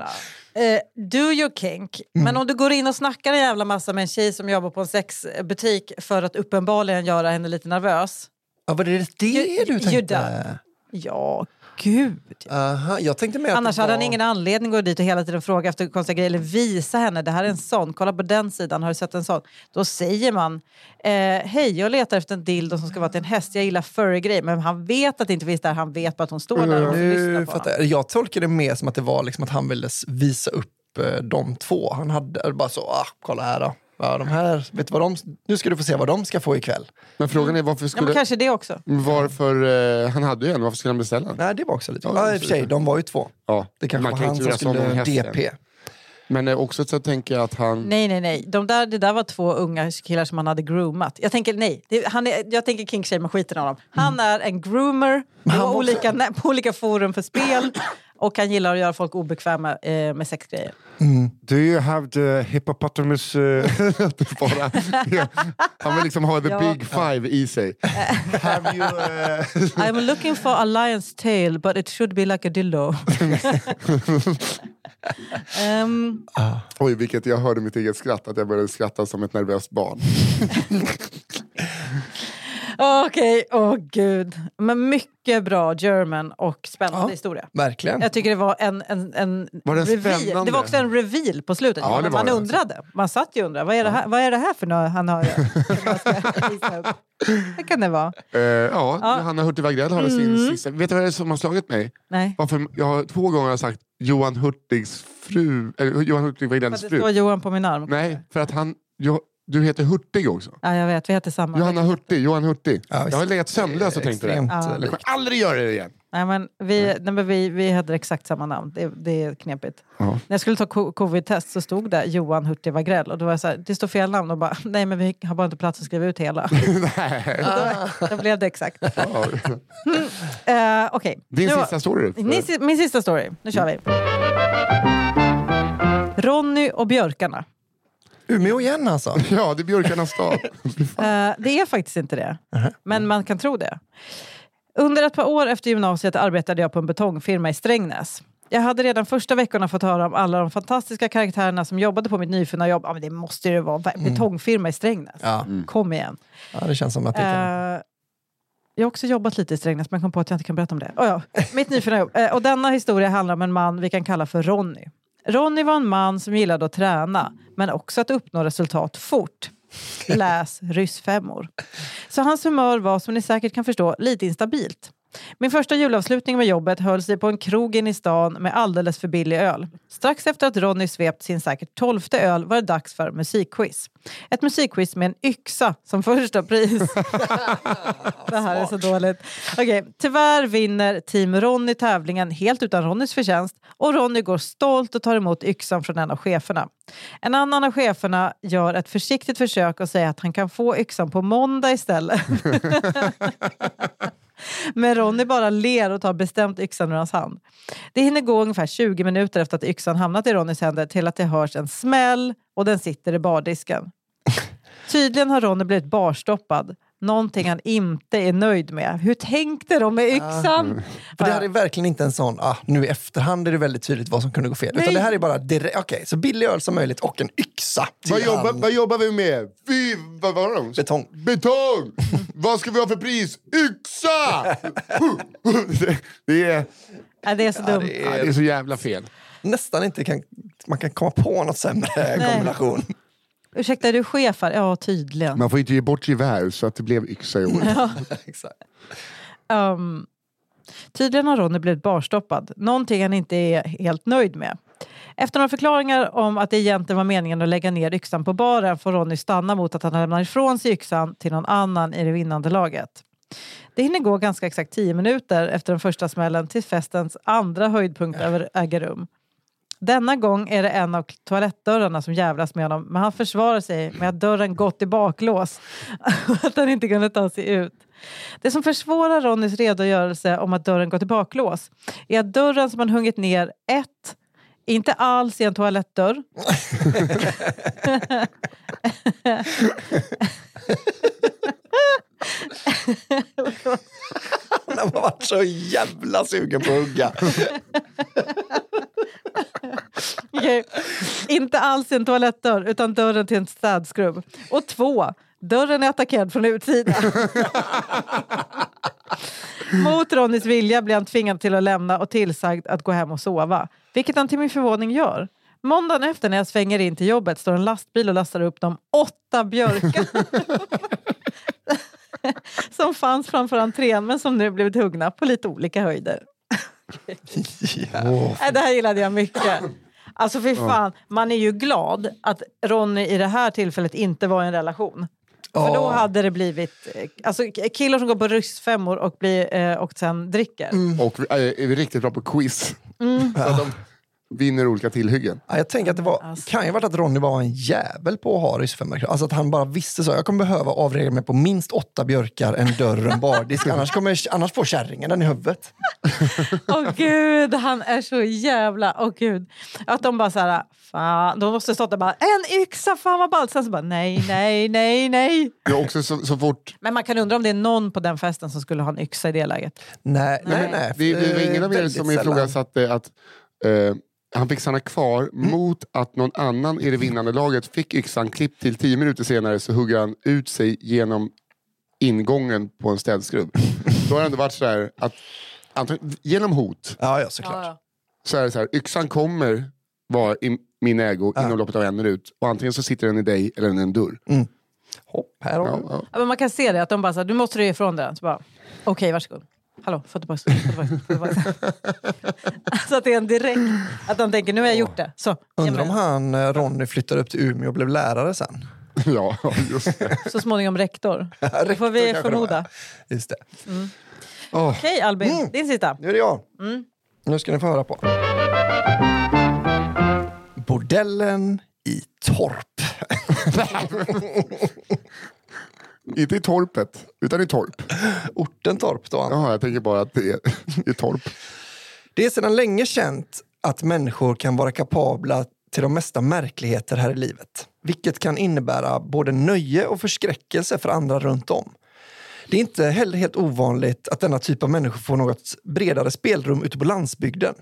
[SPEAKER 2] eh, do your kink. Men om du går in och snackar en jävla massa med en tjej som jobbar på en sexbutik för att uppenbarligen göra henne lite nervös.
[SPEAKER 1] ja, var det det
[SPEAKER 2] You-
[SPEAKER 1] du
[SPEAKER 2] you
[SPEAKER 1] tänkte?
[SPEAKER 2] done. Ja, gud.
[SPEAKER 1] Aha, jag tänkte mer att
[SPEAKER 2] Annars
[SPEAKER 1] det
[SPEAKER 2] hade
[SPEAKER 1] var...
[SPEAKER 2] han ingen anledning att gå dit och hela tiden fråga efter konstiga grejer eller visa henne. Det här är en sån. Kolla på den sidan. Har du sett en sån? Då säger man eh, hej, jag letar efter en dildo som ska vara till en häst. Jag gillar furry-grejer. Men han vet att det inte finns där. Han vet bara att hon står där och lyssnar
[SPEAKER 1] Nu
[SPEAKER 2] på
[SPEAKER 1] fattar
[SPEAKER 2] honom.
[SPEAKER 1] jag. jag tolkar det mer som att det var liksom att han ville s- visa upp eh, de två. Han hade bara så, ah, kolla här då. Ja, de här, vet du vad de, nu ska du få se vad de ska få ikväll.
[SPEAKER 3] Men frågan är varför
[SPEAKER 2] Ja, men
[SPEAKER 3] skulle...
[SPEAKER 2] kanske det också.
[SPEAKER 3] Varför, eh, han hade ju en, varför skulle han beställa en?
[SPEAKER 1] Nej, det var också lite...
[SPEAKER 3] Ja,
[SPEAKER 1] Ja, i och för sig, de var ju två.
[SPEAKER 3] Ja,
[SPEAKER 1] Det kanske
[SPEAKER 3] man
[SPEAKER 1] var
[SPEAKER 3] kan ju
[SPEAKER 1] han som
[SPEAKER 3] turas om om
[SPEAKER 1] skulle
[SPEAKER 3] hästen.
[SPEAKER 1] DP.
[SPEAKER 3] Men eh, också så tänker jag att han...
[SPEAKER 2] Nej, nej, nej. De där, det där var två unga killar som han hade groomat. Jag tänker nej. Det, han är, jag tänker King Shame skiten av honom. Han är en groomer på
[SPEAKER 1] var också-
[SPEAKER 2] olika, nä- på olika forum för spel. Och han gillar att göra folk obekväma eh, med sexgrejer.
[SPEAKER 4] Do you have the hippopotamus... Uh,
[SPEAKER 3] Bara, han vill liksom ha the
[SPEAKER 2] Ja.
[SPEAKER 3] big five i sig.
[SPEAKER 4] have you... Uh,
[SPEAKER 2] I'm looking for a lion's tail but it should be like a dildo. Ehm,
[SPEAKER 3] Oj, vilket jag hörde mitt eget skratt, att jag började skratta som ett nervöst barn.
[SPEAKER 2] Okej, åh gud. Men mycket bra German och
[SPEAKER 1] Ja.
[SPEAKER 2] spännande historia.
[SPEAKER 1] Verkligen.
[SPEAKER 2] Jag tycker det var en, en, en
[SPEAKER 3] Var den
[SPEAKER 2] reveal.
[SPEAKER 3] spännande?
[SPEAKER 2] Det var också en reveal på slutet.
[SPEAKER 3] Ja, det
[SPEAKER 2] man,
[SPEAKER 3] var alltså.
[SPEAKER 2] man
[SPEAKER 3] det.
[SPEAKER 2] undrade. Man satt ju och undrade. Vad är det här, vad är det här för något han har? som jag ska visa upp? Vad kan det vara?
[SPEAKER 3] Eh, ja, Hanna Hurtig Wagrell har
[SPEAKER 2] Mm.
[SPEAKER 3] sin sista. Vet du vad det är som har slagit mig?
[SPEAKER 2] Nej.
[SPEAKER 3] Varför jag har två gånger har sagt Johan Hurtigs fru, eller Johan Hurtig
[SPEAKER 2] För att
[SPEAKER 3] Wagrells
[SPEAKER 2] det står
[SPEAKER 3] fru.
[SPEAKER 2] Johan på min arm.
[SPEAKER 3] Nej, för att han, jo, du heter Hurtig också.
[SPEAKER 2] Ja, jag vet, vi heter samma.
[SPEAKER 3] Johanna Hurtig, Johan Hurtig.
[SPEAKER 1] Ja, visst.
[SPEAKER 3] jag har legat sömnlös och tänkt på det.
[SPEAKER 1] Extremt
[SPEAKER 2] Ja.
[SPEAKER 1] eh,
[SPEAKER 3] Jag
[SPEAKER 1] likt.
[SPEAKER 3] kommer aldrig göra det igen.
[SPEAKER 2] Nej, men vi, nej, men vi, vi hade exakt samma namn. Det, det är knepigt.
[SPEAKER 3] Ja.
[SPEAKER 2] När jag skulle ta co- covid-test så stod det Johan Hurtig Wagrell och då var jag så här, det står fel namn och bara, nej men vi har bara inte plats att skriva ut hela.
[SPEAKER 3] Nej.
[SPEAKER 2] då, då blev det exakt. Uh,
[SPEAKER 3] Ja.
[SPEAKER 2] Okej.
[SPEAKER 3] Din
[SPEAKER 2] Nu-
[SPEAKER 3] sista story? Mm.
[SPEAKER 2] Min, si- min sista story. Nu kör vi. Ronny och björkarna.
[SPEAKER 1] Umeå igen alltså.
[SPEAKER 3] Ja, det är björkarnas dag.
[SPEAKER 2] Eh, det är faktiskt inte det, men man kan tro det. Under ett par år efter gymnasiet arbetade jag på en betongfirma i Strängnäs. Jag hade redan första veckorna fått höra om alla de fantastiska karaktärerna som jobbade på mitt nyfunna jobb. Ja, men det måste ju vara en betongfirma i Strängnäs.
[SPEAKER 1] Ja.
[SPEAKER 2] Kom igen.
[SPEAKER 1] ja, det känns som att det kan...
[SPEAKER 2] Eh, jag har också jobbat lite i Strängnäs, men kom på att jag inte kan berätta om det. Oh, ja. Mitt nyfunna jobb. Eh, och denna historia handlar om en man vi kan kalla för Ronny. Ronny var en man som gillade att träna, men också att uppnå resultat fort. Läs ryssfemmor. Så hans humör var, som ni säkert kan förstå, lite instabilt. Min första julavslutning med jobbet höll sig på en krog in i stan med alldeles för billig öl. Strax efter att Ronny svept sin säkert tolfte öl var det dags för musikquiz. Ett musikquiz med en yxa som första pris. Det här är så dåligt. Okej, tyvärr vinner Team Ronny tävlingen helt utan Ronnys förtjänst och Ronny går stolt och tar emot yxan från en av cheferna. En annan av cheferna gör ett försiktigt försök och säger att han kan få yxan på måndag istället. Men Ronny bara ler och tar bestämt yxan ur hans hand. Det hinner gå ungefär 20 minuter efter att yxan hamnat i Ronnys händer till att det hörs en smäll och den sitter i bardisken. Tydligen har Ronny blivit barstoppad. Någonting han inte är nöjd med. Hur tänkte de med yxan?
[SPEAKER 1] För det här är verkligen inte en sån, ah, nu i efterhand är det väldigt tydligt vad som kunde gå fel.
[SPEAKER 2] Nej.
[SPEAKER 1] Utan det här är bara direkt, okej, så billig öl som möjligt och en yxa. till
[SPEAKER 3] vad, jobbar,
[SPEAKER 1] hand.
[SPEAKER 3] vad jobbar vi med? Vi, vad var de?
[SPEAKER 1] Betong.
[SPEAKER 3] Betong! vad ska vi ha för pris? Yxa! det, är,
[SPEAKER 2] Nej, det är så dumt.
[SPEAKER 1] Det
[SPEAKER 3] ja,
[SPEAKER 1] är
[SPEAKER 3] det är så jävla fel.
[SPEAKER 1] nästan inte kan, man kan komma på något sämre kombination.
[SPEAKER 2] Ursäkta, är du chef här? Ja, tydligen.
[SPEAKER 3] Man får inte ge bort gevär så att det blev yxa i år.
[SPEAKER 1] Exakt.
[SPEAKER 2] Ehm, tydligen har Ronny blivit barstoppad, någonting han inte är helt nöjd med. Efter några förklaringar om att det egentligen var meningen att lägga ner yxan på baren får Ronny stanna mot att han lämnar ifrån sig yxan till någon annan i det vinnande laget. Det hinner gå ganska exakt 10 minuter efter den första smällen till festens andra höjdpunkt över äger rum. Denna gång är det en av toalettdörrarna som jävlas med honom men han försvarar sig med att dörren gått i baklås och att han inte kunde ta sig ut. Det som försvårar Ronnys redogörelse om att dörren gått i baklås är att dörren som han hungit ner, ett, inte alls är en toalettdörr.
[SPEAKER 1] Hon har varit så jävla sugen på att hugga.
[SPEAKER 2] Okej. Inte alls en toalettdörr, utan dörren till en städskrubb. Och två, dörren är attackerad från utsidan. Mot Ronnys vilja blir han tvingad till att lämna och tillsagd att gå hem och sova. Vilket han till min förvåning gör. Måndagen efter när jag svänger in till jobbet står en lastbil och lastar upp de åtta björkar som fanns framför entrén men som nu blivit huggna på lite olika höjder. Nej, det här gillade jag mycket. Alltså fy fan, man är ju glad att Ronny i det här tillfället inte var i en relation. För då
[SPEAKER 1] Ja.
[SPEAKER 2] hade det blivit eh, alltså, k- killar som går på ryssfemmor
[SPEAKER 3] Mm.
[SPEAKER 2] och, blir, eh, och sen dricker.
[SPEAKER 3] äh, Och vi är, är vi riktigt bra på quiz. Så att de, vinner olika tillhyggen.
[SPEAKER 1] Ja, jag tänker att det var,
[SPEAKER 2] Alltså.
[SPEAKER 1] kan ju ha varit att Ronny var en jävel på att ha det i 25 märken. Alltså att han bara visste så. Jag kommer behöva avreglera mig på minst åtta björkar, en dörr och en bardisk. Annars, kommer, annars får kärringen den i huvudet.
[SPEAKER 2] Åh gud, han är så jävla... Åh gud. Att de bara så här... Fan, de måste stått där bara en yxa, fan vad ballt. Sen så bara nej, nej, nej, nej.
[SPEAKER 3] Jag också så, så fort...
[SPEAKER 2] Men man kan undra om det är någon på den festen som skulle ha en yxa i det läget.
[SPEAKER 1] Nej, nej, nej.
[SPEAKER 2] Nej.
[SPEAKER 1] nej.
[SPEAKER 3] Det, det var ingen
[SPEAKER 1] Eh,
[SPEAKER 3] av er
[SPEAKER 1] väldigt
[SPEAKER 3] som
[SPEAKER 1] sällan.
[SPEAKER 3] ifrågasatte att eh, han fick stanna kvar
[SPEAKER 1] Mm.
[SPEAKER 3] mot att någon annan i det vinnande laget fick yxan klippt till tio minuter senare så hugger han ut sig genom ingången på en städskrubb. Då har det ändå varit så här att antagligen, genom hot
[SPEAKER 1] Ja, ja, såklart.
[SPEAKER 3] så är det så här, yxan kommer vara i min ägo inom loppet av en minut och antingen så sitter den i dig eller den i en dörr.
[SPEAKER 1] Mm. Hopp, här har
[SPEAKER 3] Ja,
[SPEAKER 1] du.
[SPEAKER 3] ja.
[SPEAKER 2] Ja, men man kan se det, att de bara så här, du måste du ge ifrån dig den. Så bara, okej, varsågod. Hallå, få tillbaka få tillbaka, få tillbaka. Alltså att det är en direkt, att de tänker nu har jag gjort det. Så, ge
[SPEAKER 1] Undrar
[SPEAKER 2] mig
[SPEAKER 1] om
[SPEAKER 2] den.
[SPEAKER 1] han, eh, Ronny flyttade upp till Umeå och blev lärare sen.
[SPEAKER 3] ja, just det.
[SPEAKER 2] så småningom rektor. Det får
[SPEAKER 1] Rektor
[SPEAKER 2] vi
[SPEAKER 1] kanske det
[SPEAKER 2] förmoda.
[SPEAKER 1] var. Just det.
[SPEAKER 2] Okej Albin,
[SPEAKER 1] Mm.
[SPEAKER 2] din sista.
[SPEAKER 1] Nu är det jag.
[SPEAKER 2] Mm.
[SPEAKER 1] Nu ska ni få höra på. Bordellen i Torp.
[SPEAKER 3] Inte i torpet, utan i torp.
[SPEAKER 1] Orten Torp då.
[SPEAKER 3] Jaha, jag tänker bara att det är i torp.
[SPEAKER 1] Det är sedan länge känt att människor kan vara kapabla till de mesta märkligheter här i livet. Vilket kan innebära både nöje och förskräckelse för andra runt om. Det är inte heller helt ovanligt att denna typ av människor får något bredare spelrum ute på landsbygden.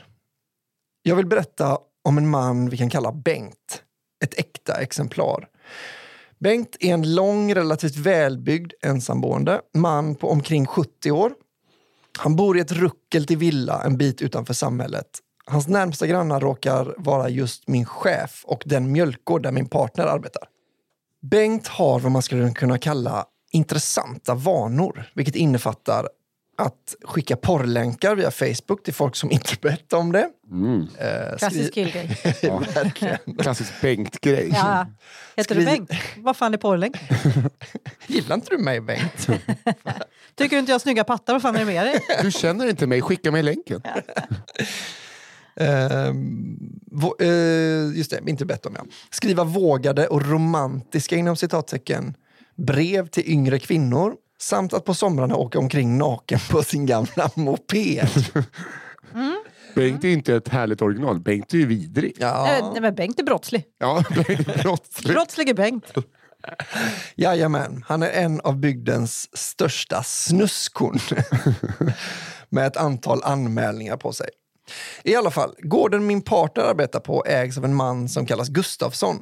[SPEAKER 1] Jag vill berätta om en man vi kan kalla Bengt. Ett äkta exemplar. Bengt är en lång, relativt välbyggd ensamboende man på omkring 70 år. Han bor i ett ruckel till villa en bit utanför samhället. Hans närmsta grannar råkar vara just min chef och den mjölkgård där min partner arbetar. Bengt har vad man skulle kunna kalla intressanta vanor, vilket innefattar att skicka porrlänkar via Facebook till folk som inte bett om det. Eh, skri-
[SPEAKER 2] Klassisk killgrej.
[SPEAKER 1] Verkligen.
[SPEAKER 3] Klassisk Bengt-grej.
[SPEAKER 2] Ja. Heter
[SPEAKER 1] Skri-
[SPEAKER 2] du Bengt? Vad fan är porrlänk?
[SPEAKER 1] Gillar inte du mig, Bengt?
[SPEAKER 2] Tycker du inte jag har snygga pattar? Vad fan är det med dig?
[SPEAKER 3] Du känner inte mig, skicka mig länken.
[SPEAKER 1] Ehm, vå- eh, just det, inte bett om ja. Skriva vågade och romantiska inom citattecken brev till yngre kvinnor samt att på somrarna åka omkring naken på sin gamla moped.
[SPEAKER 3] Bengt är inte ett härligt original, Bengt är ju vidrig.
[SPEAKER 2] Eh,
[SPEAKER 1] Ja,
[SPEAKER 2] Nej, men Bengt är brottslig.
[SPEAKER 3] Ja, Bengt är brottslig.
[SPEAKER 2] Brottslig är Bengt.
[SPEAKER 1] jajamän, han är en av bygdens största snuskon med ett antal anmälningar på sig. I alla fall, gården min partner arbetar på ägs av en man som kallas Gustafsson.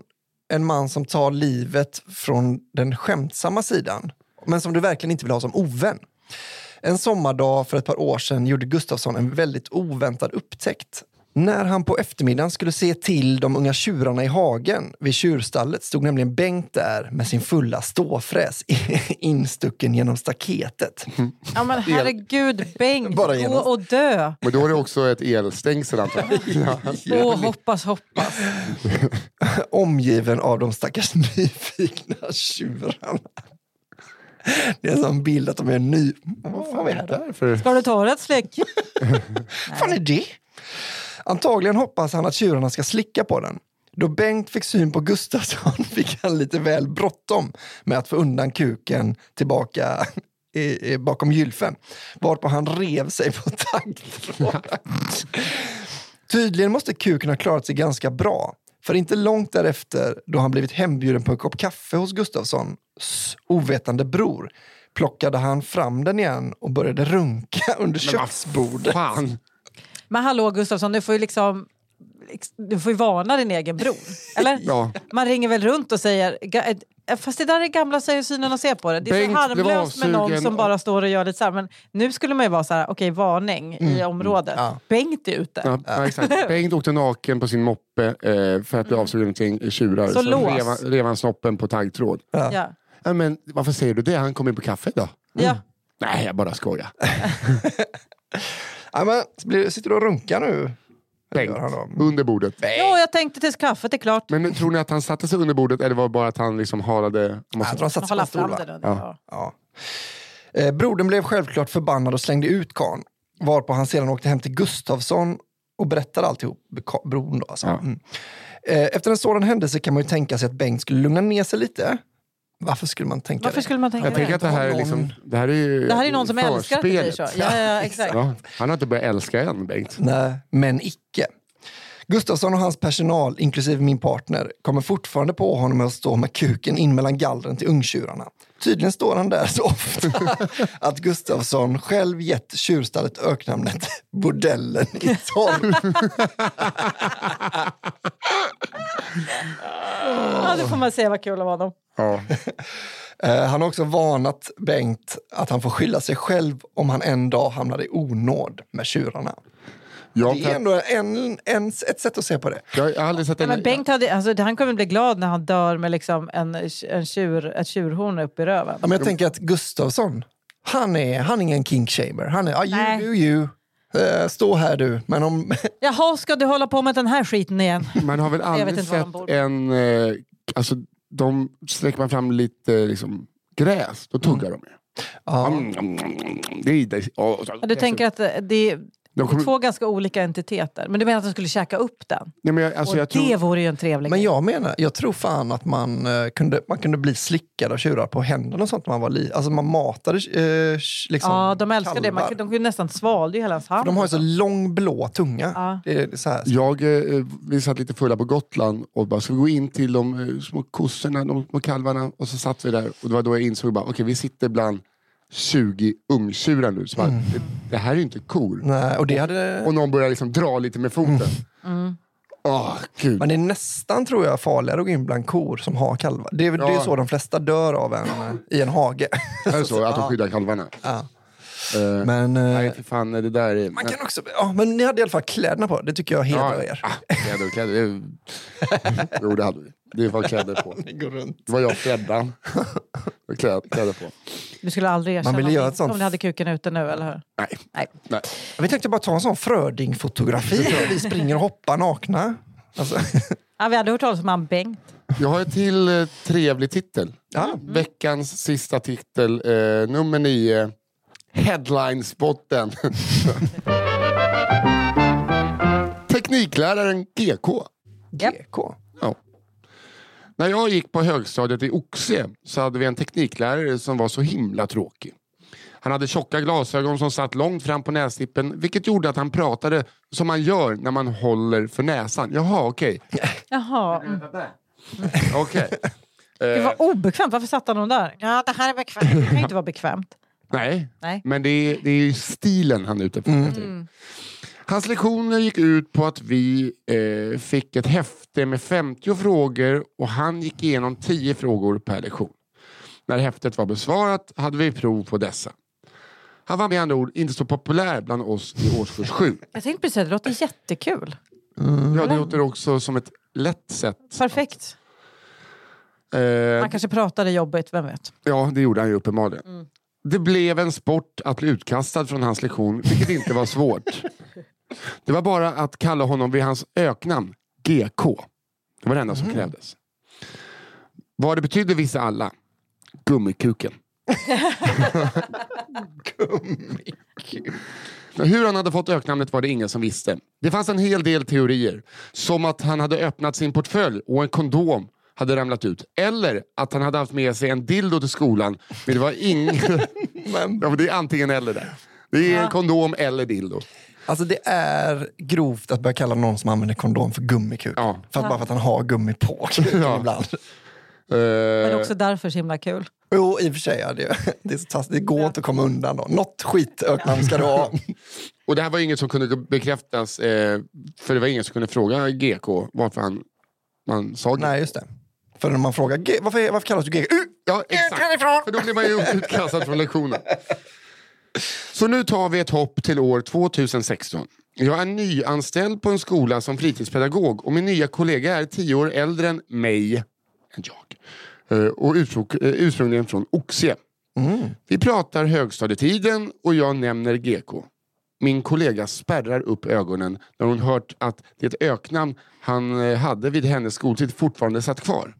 [SPEAKER 1] En man som tar livet från den skämtsamma sidan, men som du verkligen inte vill ha som ovän. En sommardag för ett par år sedan gjorde Gustafsson en väldigt oväntad upptäckt. När han på eftermiddagen skulle se till de unga tjurarna i hagen vid tjurstallet stod nämligen Bengt där med sin fulla ståfräs instucken genom staketet.
[SPEAKER 2] Ja, men herregud, Bengt.
[SPEAKER 1] Bara
[SPEAKER 2] Gå
[SPEAKER 1] genast.
[SPEAKER 2] och dö.
[SPEAKER 3] Men då är det också ett elstängsel antagligen.
[SPEAKER 2] Åh, hoppas, hoppas.
[SPEAKER 1] omgiven av de stackars nyfikna tjurarna. Det är en sån bild att de är ny... Vad fan är det här?
[SPEAKER 3] Därför.
[SPEAKER 2] Ska du ta det ett släck?
[SPEAKER 1] Vad fan är det? Antagligen hoppas han att tjurarna ska slicka på den. Då Bengt fick syn på Gustafsson fick han lite väl bråttom med att få undan kuken tillbaka i, i, bakom gylfen. Varpå han rev sig på taggtråden. Tydligen måste kuken ha klarat sig ganska bra. För inte långt därefter, då han blivit hembjuden på en kopp kaffe hos Gustafssons ovetande bror, plockade han fram den igen och började runka under köksbordet.
[SPEAKER 3] Fan.
[SPEAKER 2] Men hallå Gustafsson, du får ju liksom... Du får ju varna din egen bror. Eller?
[SPEAKER 3] Ja.
[SPEAKER 2] Man ringer väl runt och säger... "Ga- eh, Fast det där är gamla säger synen och se på det. Det är
[SPEAKER 3] Bengt blev
[SPEAKER 2] så harmlöst med någon
[SPEAKER 3] avsugen
[SPEAKER 2] som
[SPEAKER 3] och-
[SPEAKER 2] bara står och gör lite så här. Men nu skulle man ju vara så här, okej, varning i området.
[SPEAKER 1] ja.
[SPEAKER 2] Bengt är ute.
[SPEAKER 3] Mm, Ja, ja, exakt. Bengt åkte naken på sin moppe eh, för att bli avsugen till tjurar.
[SPEAKER 2] Så lås.
[SPEAKER 3] rev, han- rev han snoppen på taggtråd.
[SPEAKER 2] Ja.
[SPEAKER 3] Ja, men varför säger du det? Han kom in på kaffe då?
[SPEAKER 2] Ja.
[SPEAKER 3] Nej, jag bara skojar.
[SPEAKER 1] Ja, men, blir- sitter du och runkar nu?
[SPEAKER 3] Bengt,
[SPEAKER 1] gör han då?
[SPEAKER 3] under bordet.
[SPEAKER 2] Jo, jag tänkte tills kaffet är klart.
[SPEAKER 3] Men nu, tror ni att han satte sig under bordet eller var det bara att han liksom halade?
[SPEAKER 1] Jag tror han satt sig på
[SPEAKER 2] Hålla
[SPEAKER 1] en stol,
[SPEAKER 2] fram
[SPEAKER 1] va?
[SPEAKER 2] det då. Ja.
[SPEAKER 1] Ja. Eh, brodern blev självklart förbannad och slängde ut karln. Varpå han sedan åkte hem till Gustafsson och berättar alltihop beka- bron. Då, alltså.
[SPEAKER 3] Ja.
[SPEAKER 1] mm. Eh, Efter en sådan händelse kan man ju tänka sig att Bengt skulle lugna ner sig lite. Varför skulle man tänka
[SPEAKER 2] Varför
[SPEAKER 1] det?
[SPEAKER 2] skulle man tänka
[SPEAKER 3] Jag tänker
[SPEAKER 2] det?
[SPEAKER 3] att det här är liksom... Det här är ju
[SPEAKER 2] Det här är någon som älskar att det blir så.
[SPEAKER 3] förspelet.
[SPEAKER 2] Ja, ja, exakt.
[SPEAKER 3] Ja, han har inte börjat älska än, Bengt.
[SPEAKER 1] Nej, men icke. Gustafsson och hans personal, inklusive min partner, kommer fortfarande på honom med att stå med kuken in mellan gallren till ungtjurarna. Tydligen står han där så ofta att Gustafsson själv gett tjurstallet öknamnet Bordellen i torr.
[SPEAKER 2] Ja, det får man säga var kul av honom.
[SPEAKER 3] Ja.
[SPEAKER 1] Eh, Han har också varnat Bengt att han får skylla sig själv om han en dag hamnar i onåd med tjurarna.
[SPEAKER 3] Jag,
[SPEAKER 1] Det är ändå en, en, ett sätt att se på det.
[SPEAKER 3] jag har aldrig sett
[SPEAKER 2] Ja,
[SPEAKER 3] en...
[SPEAKER 2] men Bengt hade, alltså, han kommer bli glad när han dör med liksom en, en tjur, ett tjurhorn upp i röven.
[SPEAKER 1] Ja, men jag tänker att Gustafsson, han är, han är ingen kinkshamer. Han är, ah, you
[SPEAKER 2] Nej.
[SPEAKER 1] do you. Eh, stå här du. Men om,
[SPEAKER 2] Jaha, ska du hålla på med den här skiten igen?
[SPEAKER 3] Man har väl aldrig
[SPEAKER 2] inte var de
[SPEAKER 3] sett
[SPEAKER 2] bor.
[SPEAKER 3] en... Eh, alltså, de sträcker man fram lite liksom, gräs, då tuggar de ju.
[SPEAKER 1] ja,
[SPEAKER 3] Mm, mm, mm, mm. Det är, det är, åh, så-
[SPEAKER 2] Ja, Du tänker att det det är
[SPEAKER 3] de kommer,
[SPEAKER 2] två ganska olika entiteter. Men du menar att de skulle käka upp den?
[SPEAKER 3] nej, men jag, alltså,
[SPEAKER 2] och
[SPEAKER 3] jag
[SPEAKER 2] det
[SPEAKER 3] tror,
[SPEAKER 2] vore ju en trevlig
[SPEAKER 1] men
[SPEAKER 2] grej.
[SPEAKER 1] jag menar, jag tror fan att man, eh, kunde, man kunde bli slickad av tjurar på händerna och sånt när man var liten. Alltså man matade eh, liksom
[SPEAKER 2] Ja, de älskar det. Man,
[SPEAKER 1] kalvar.
[SPEAKER 2] kunde- de kunde nästan svalde ju hela hans hand.
[SPEAKER 1] de har ju så lång blå tunga.
[SPEAKER 2] Ja.
[SPEAKER 1] Det är så här.
[SPEAKER 3] jag, eh, vi satt lite fulla på Gotland och bara, ska vi gå in till de eh, små kossorna, de små kalvarna? Och så satt vi där och det var då jag insåg bara, okej vi sitter bland 20 ungtjurar nu. Så bara,
[SPEAKER 1] Mm.
[SPEAKER 3] det, det här är ju inte kor.
[SPEAKER 1] Nej, och det hade,
[SPEAKER 3] Och någon börjar liksom dra lite med foten. Åh, gud.
[SPEAKER 1] Mm. men det är nästan tror jag farligare att gå in bland kor som har kalvar. Det är, det är
[SPEAKER 3] Ja.
[SPEAKER 1] så de flesta dör av en, eh, i en hage.
[SPEAKER 3] Är det så? Att de skyddar kalvarna?
[SPEAKER 1] Ja.
[SPEAKER 3] Eh,
[SPEAKER 1] Men, eh,
[SPEAKER 3] Nej, för fan, det där är...
[SPEAKER 1] Man kan också, ja, men ni hade i alla fall kläderna på. Det tycker jag hedrar er.
[SPEAKER 3] Ah, kläder och kläder. det är- Jo, det hade vi. Det var kläder på.
[SPEAKER 1] Ni går runt.
[SPEAKER 3] Det var jag och Freddan. Det var klä- Kläder på.
[SPEAKER 2] Du skulle aldrig erkänna
[SPEAKER 1] ville göra ett
[SPEAKER 2] om-
[SPEAKER 1] sånt-
[SPEAKER 2] om du hade kuken ute nu, eller hur?
[SPEAKER 3] Nej.
[SPEAKER 2] Nej.
[SPEAKER 3] Nej.
[SPEAKER 1] Vi tänkte bara ta en sån Fröding-fotografi. där vi springer och hoppar nakna. Alltså,
[SPEAKER 2] Ja, vi hade hört talas om han Bengt.
[SPEAKER 3] Jag har en till eh, trevlig titel.
[SPEAKER 1] ja.
[SPEAKER 2] Mm.
[SPEAKER 3] Veckans sista titel, eh, nummer nio. Headlinespotten. Teknikläraren GK.
[SPEAKER 2] Japp.
[SPEAKER 1] GK.
[SPEAKER 3] Ja. När jag gick på högstadiet i Oxe så hade vi en tekniklärare som var så himla tråkig. Han hade tjocka glasögon som satt långt fram på nästippen vilket gjorde att han pratade som man gör när man håller för näsan. Jaha, okej.
[SPEAKER 2] Jaha. Mm.
[SPEAKER 3] Okej.
[SPEAKER 2] Det
[SPEAKER 3] Eh,
[SPEAKER 2] var obekvämt. Varför satt han dem där? Ja, det här är bekvämt. Det kan ju inte vara bekvämt.
[SPEAKER 3] nej,
[SPEAKER 2] Nej.
[SPEAKER 3] men det är, det är ju stilen han är ute efter. Hans lektioner gick ut på att vi eh, fick ett häfte med 50 frågor och han gick igenom 10 frågor per lektion. När häftet var besvarat hade vi prov på dessa. Han var med andra ord inte så populär bland oss i årskurs 7.
[SPEAKER 2] Jag tänkte precis säga, det låter jättekul.
[SPEAKER 3] Ja, det låter också som ett lätt sätt.
[SPEAKER 2] Perfekt.
[SPEAKER 3] Eh,
[SPEAKER 2] Han kanske pratade jobbigt, vem vet?
[SPEAKER 3] ja, det gjorde han ju uppenbarligen. Det blev en sport att bli utkastad från hans lektion, vilket inte var svårt. Det var bara att kalla honom vid hans öknamn, GK. Det var det enda som krävdes. Vad det betydde visste alla. Gummikuken. Men Hur han hade fått öknamnet var det ingen som visste. Det fanns en hel del teorier. Som att han hade öppnat sin portfölj och en kondom hade ramlat ut. Eller att han hade haft med sig en dildo till skolan. Men det var ingen...
[SPEAKER 1] Men,
[SPEAKER 3] Ja, men det är antingen eller där. Det är en kondom eller dildo.
[SPEAKER 1] alltså det är grovt att börja kalla någon som använder kondom för gummikuk.
[SPEAKER 3] Ja.
[SPEAKER 1] För att, bara för att han har gummi på kuken
[SPEAKER 3] Ja.
[SPEAKER 1] ibland.
[SPEAKER 2] Men
[SPEAKER 3] Eh,
[SPEAKER 2] också därför så himla kul.
[SPEAKER 1] Jo, i och för sig. Ja, det, det, är så taskigt. det går inte att komma undan. Då. Något skitöknamn ska du ha.
[SPEAKER 3] och det här var inget som kunde bekräftas. Eh, för det var ingen som kunde fråga GK varför han man sa GK.
[SPEAKER 1] Nej, just det. För när man frågar "G- varför, varför kallas du GK? Uh,
[SPEAKER 3] Ja, exakt. För då blir man ju utkastad från lektionen. Så nu tar vi ett hopp till år 2016. Jag är nyanställd på en skola som fritidspedagog och min nya kollega är tio år äldre än mig, än jag, Eh, och ursprung- eh, ursprungligen från Oxie. Vi pratar högstadietiden och jag nämner GK. Min kollega spärrar upp ögonen när hon hört att det öknamn han eh, hade vid hennes skoltid fortfarande satt kvar.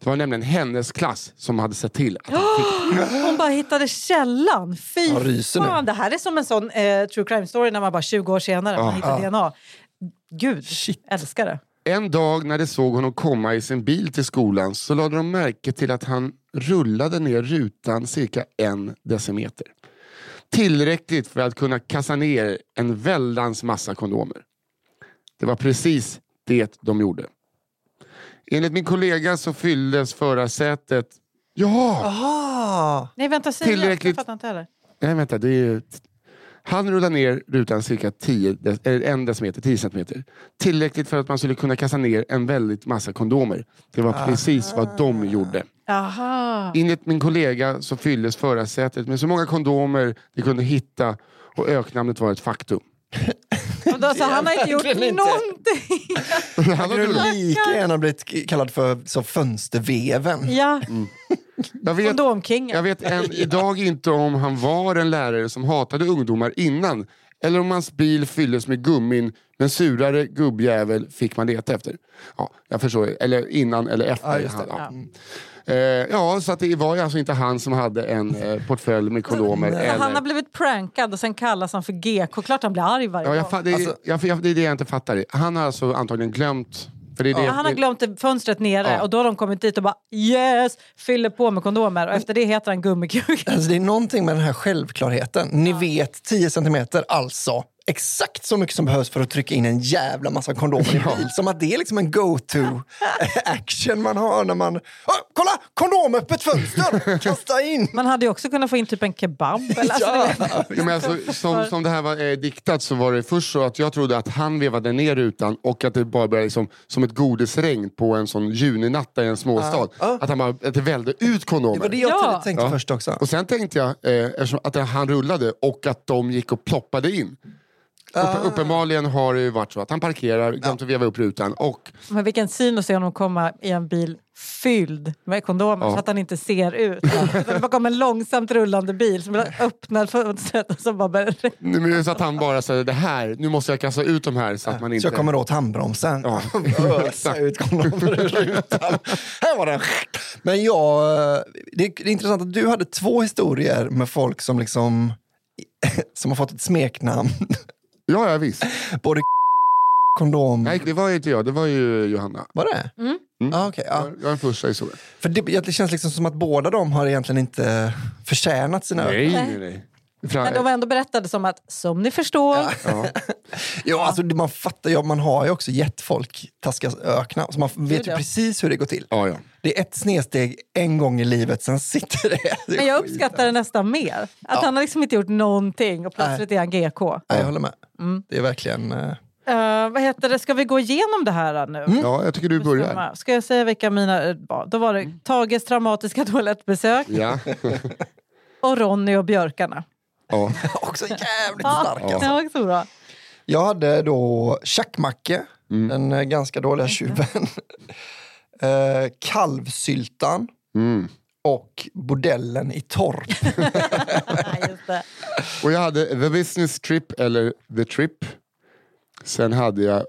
[SPEAKER 3] Det var nämligen hennes klass som hade sett till att han fick
[SPEAKER 2] Hon bara hittade källan. Fy
[SPEAKER 1] Jag ryser nu.
[SPEAKER 3] Ah.
[SPEAKER 2] fan, det här är som en sån eh, true crime story när man bara 20 år senare man hittar DNA. Gud,
[SPEAKER 1] Shit.
[SPEAKER 2] älskar det.
[SPEAKER 3] En dag när de såg honom komma i sin bil till skolan så lade de märke till att han rullade ner rutan cirka en decimeter. Tillräckligt för att kunna kassa ner en väldans massa kondomer. Det var precis det de gjorde. Enligt min kollega så fylldes förarsätet... Ja!
[SPEAKER 1] Aha!
[SPEAKER 2] Nej, vänta, säg igen. Jag
[SPEAKER 3] Tillräckligt.
[SPEAKER 2] fattar inte heller.
[SPEAKER 3] Nej, vänta. Det är ju... Han rullade ner rutan cirka 10, dec- eller en decimeter, 10 centimeter. Tillräckligt för att man skulle kunna kasta ner en väldigt massa kondomer. Det var precis vad de gjorde.
[SPEAKER 2] Aha.
[SPEAKER 3] Enligt min kollega så fylldes förarsätet med så många kondomer de kunde hitta och öknamnet var ett faktum.
[SPEAKER 2] Men alltså, han har inte gjort
[SPEAKER 1] verkligen inte.
[SPEAKER 2] någonting.
[SPEAKER 3] Han hade
[SPEAKER 1] Hade
[SPEAKER 3] rullat-
[SPEAKER 1] du lika gärna blivit kallad för så fönsterveven?
[SPEAKER 2] Ja,
[SPEAKER 3] Mm. jag, vet, jag
[SPEAKER 2] kondomkingen.
[SPEAKER 3] vet än idag inte om han var en lärare som hatade ungdomar innan eller om hans bil fylldes med gummin men surare gubbjävel fick man leta efter. Ja, jag förstår, eller innan eller efter.
[SPEAKER 1] Ja, just det.
[SPEAKER 3] Han, ja. Eh, ja, så att det var ju alltså inte han som hade en eh, portfölj med kondomer.
[SPEAKER 2] Så Alltså, han
[SPEAKER 3] eller...
[SPEAKER 2] har blivit prankad och sen kallas han för GK. Klart han blir arg varje
[SPEAKER 3] Ja,
[SPEAKER 2] gång.
[SPEAKER 3] jag, fa- det,
[SPEAKER 1] Alltså-
[SPEAKER 3] jag, jag, det är det jag inte fattar. Han har alltså antagligen glömt. För det är det,
[SPEAKER 2] Ja, han har
[SPEAKER 3] det-
[SPEAKER 2] glömt det- fönstret nere
[SPEAKER 3] Ja.
[SPEAKER 2] och då har de kommit dit och bara yes, fyller på med kondomer och efter det heter han gummikuk.
[SPEAKER 1] Alltså, det är någonting med den här självklarheten. Ni vet 10 centimeter, alltså exakt så mycket som behövs för att trycka in en jävla massa kondomer i en bil. Som att det är liksom en go-to-action man har när man... Åh, kolla! Kondomöppet fönster! Kasta in!
[SPEAKER 2] Man hade ju också kunnat få in typ en kebab. Eller, alltså,
[SPEAKER 1] Ja.
[SPEAKER 2] det,
[SPEAKER 3] Ja, men alltså, som, som det här var eh, diktat så var det först så att jag trodde att han vevade ner rutan och att det bara började liksom, som ett godisregn på en sån juninatt där i en småstad.
[SPEAKER 1] ja.
[SPEAKER 3] Att, han bara, att det välde ut
[SPEAKER 1] Ah. Det var
[SPEAKER 3] kondomer.
[SPEAKER 1] det jag
[SPEAKER 2] Ja.
[SPEAKER 1] tänkte
[SPEAKER 3] Ja.
[SPEAKER 1] först också.
[SPEAKER 3] Och sen tänkte jag, eh, eftersom att han rullade och att de gick och ploppade in.
[SPEAKER 1] Ah.
[SPEAKER 3] Uppe, uppenbarligen har det ju varit så att han parkerar, glömt att veva upp rutan och
[SPEAKER 2] men vilken syn att se honom komma i en bil fylld med kondomer
[SPEAKER 3] Ja.
[SPEAKER 2] så att han inte ser ut. Det bara kom en långsamt rullande bil som öppnar fönstret och så bara börjar det
[SPEAKER 3] nu men det är så att han bara säger det här, nu måste jag kasta ut de här så att man inte...
[SPEAKER 1] Ah. Så jag kommer åt handbromsen.
[SPEAKER 3] Ja.
[SPEAKER 1] Ösa ut kondomer ur rutan. Här var den. Men jag, det, är, det är intressant att du hade två historier med folk som liksom som har fått ett smeknamn.
[SPEAKER 3] Ja, ja visst.
[SPEAKER 1] Både kondom...
[SPEAKER 3] Nej, det var ju inte jag, det var ju Johanna.
[SPEAKER 1] Var det?
[SPEAKER 2] Mm.
[SPEAKER 1] Ah, okej, ja.
[SPEAKER 3] Jag är den första i solen.
[SPEAKER 1] För det, det känns liksom som att båda de har egentligen inte förtjänat sina...
[SPEAKER 2] nej,
[SPEAKER 3] nej.
[SPEAKER 2] Men de ändå berättade som att, som ni förstår,
[SPEAKER 3] ja.
[SPEAKER 1] Ja, alltså, det- man fattar ju, man har ju också gett folk taskiga öknar. Så man vet ju
[SPEAKER 2] ja.
[SPEAKER 1] precis hur det går till.
[SPEAKER 3] Ja, ja.
[SPEAKER 1] Det är ett snedsteg en gång i livet, sen sitter det. det är
[SPEAKER 2] men jag
[SPEAKER 1] skit.
[SPEAKER 2] uppskattar det nästan mer. Att han har liksom inte gjort någonting och plötsligt är han GK.
[SPEAKER 1] Ja, jag håller med.
[SPEAKER 2] Mm.
[SPEAKER 1] Det är verkligen... eh,
[SPEAKER 2] Eh, vad heter det? Ska vi gå igenom det här eh, nu?
[SPEAKER 3] ja, jag tycker du börjar.
[SPEAKER 2] Ska jag säga vilka mina eh, var? Då var
[SPEAKER 3] Mm.
[SPEAKER 2] det Tages traumatiska toalettbesök
[SPEAKER 3] Ja.
[SPEAKER 2] och Ronny och björkarna.
[SPEAKER 3] Ja.
[SPEAKER 1] också jävligt
[SPEAKER 2] Ja,
[SPEAKER 1] stark.
[SPEAKER 2] det
[SPEAKER 1] Alltså.
[SPEAKER 2] var också bra.
[SPEAKER 1] Jag hade då Tjackmacke,
[SPEAKER 3] Mm.
[SPEAKER 1] den eh, ganska dåliga tjuven. Eh, Kalvsyltan
[SPEAKER 3] Mm.
[SPEAKER 1] och Bordellen i Torp.
[SPEAKER 2] Nej, just det.
[SPEAKER 3] Och jag hade The Business Trip, eller The Trip. Sen hade jag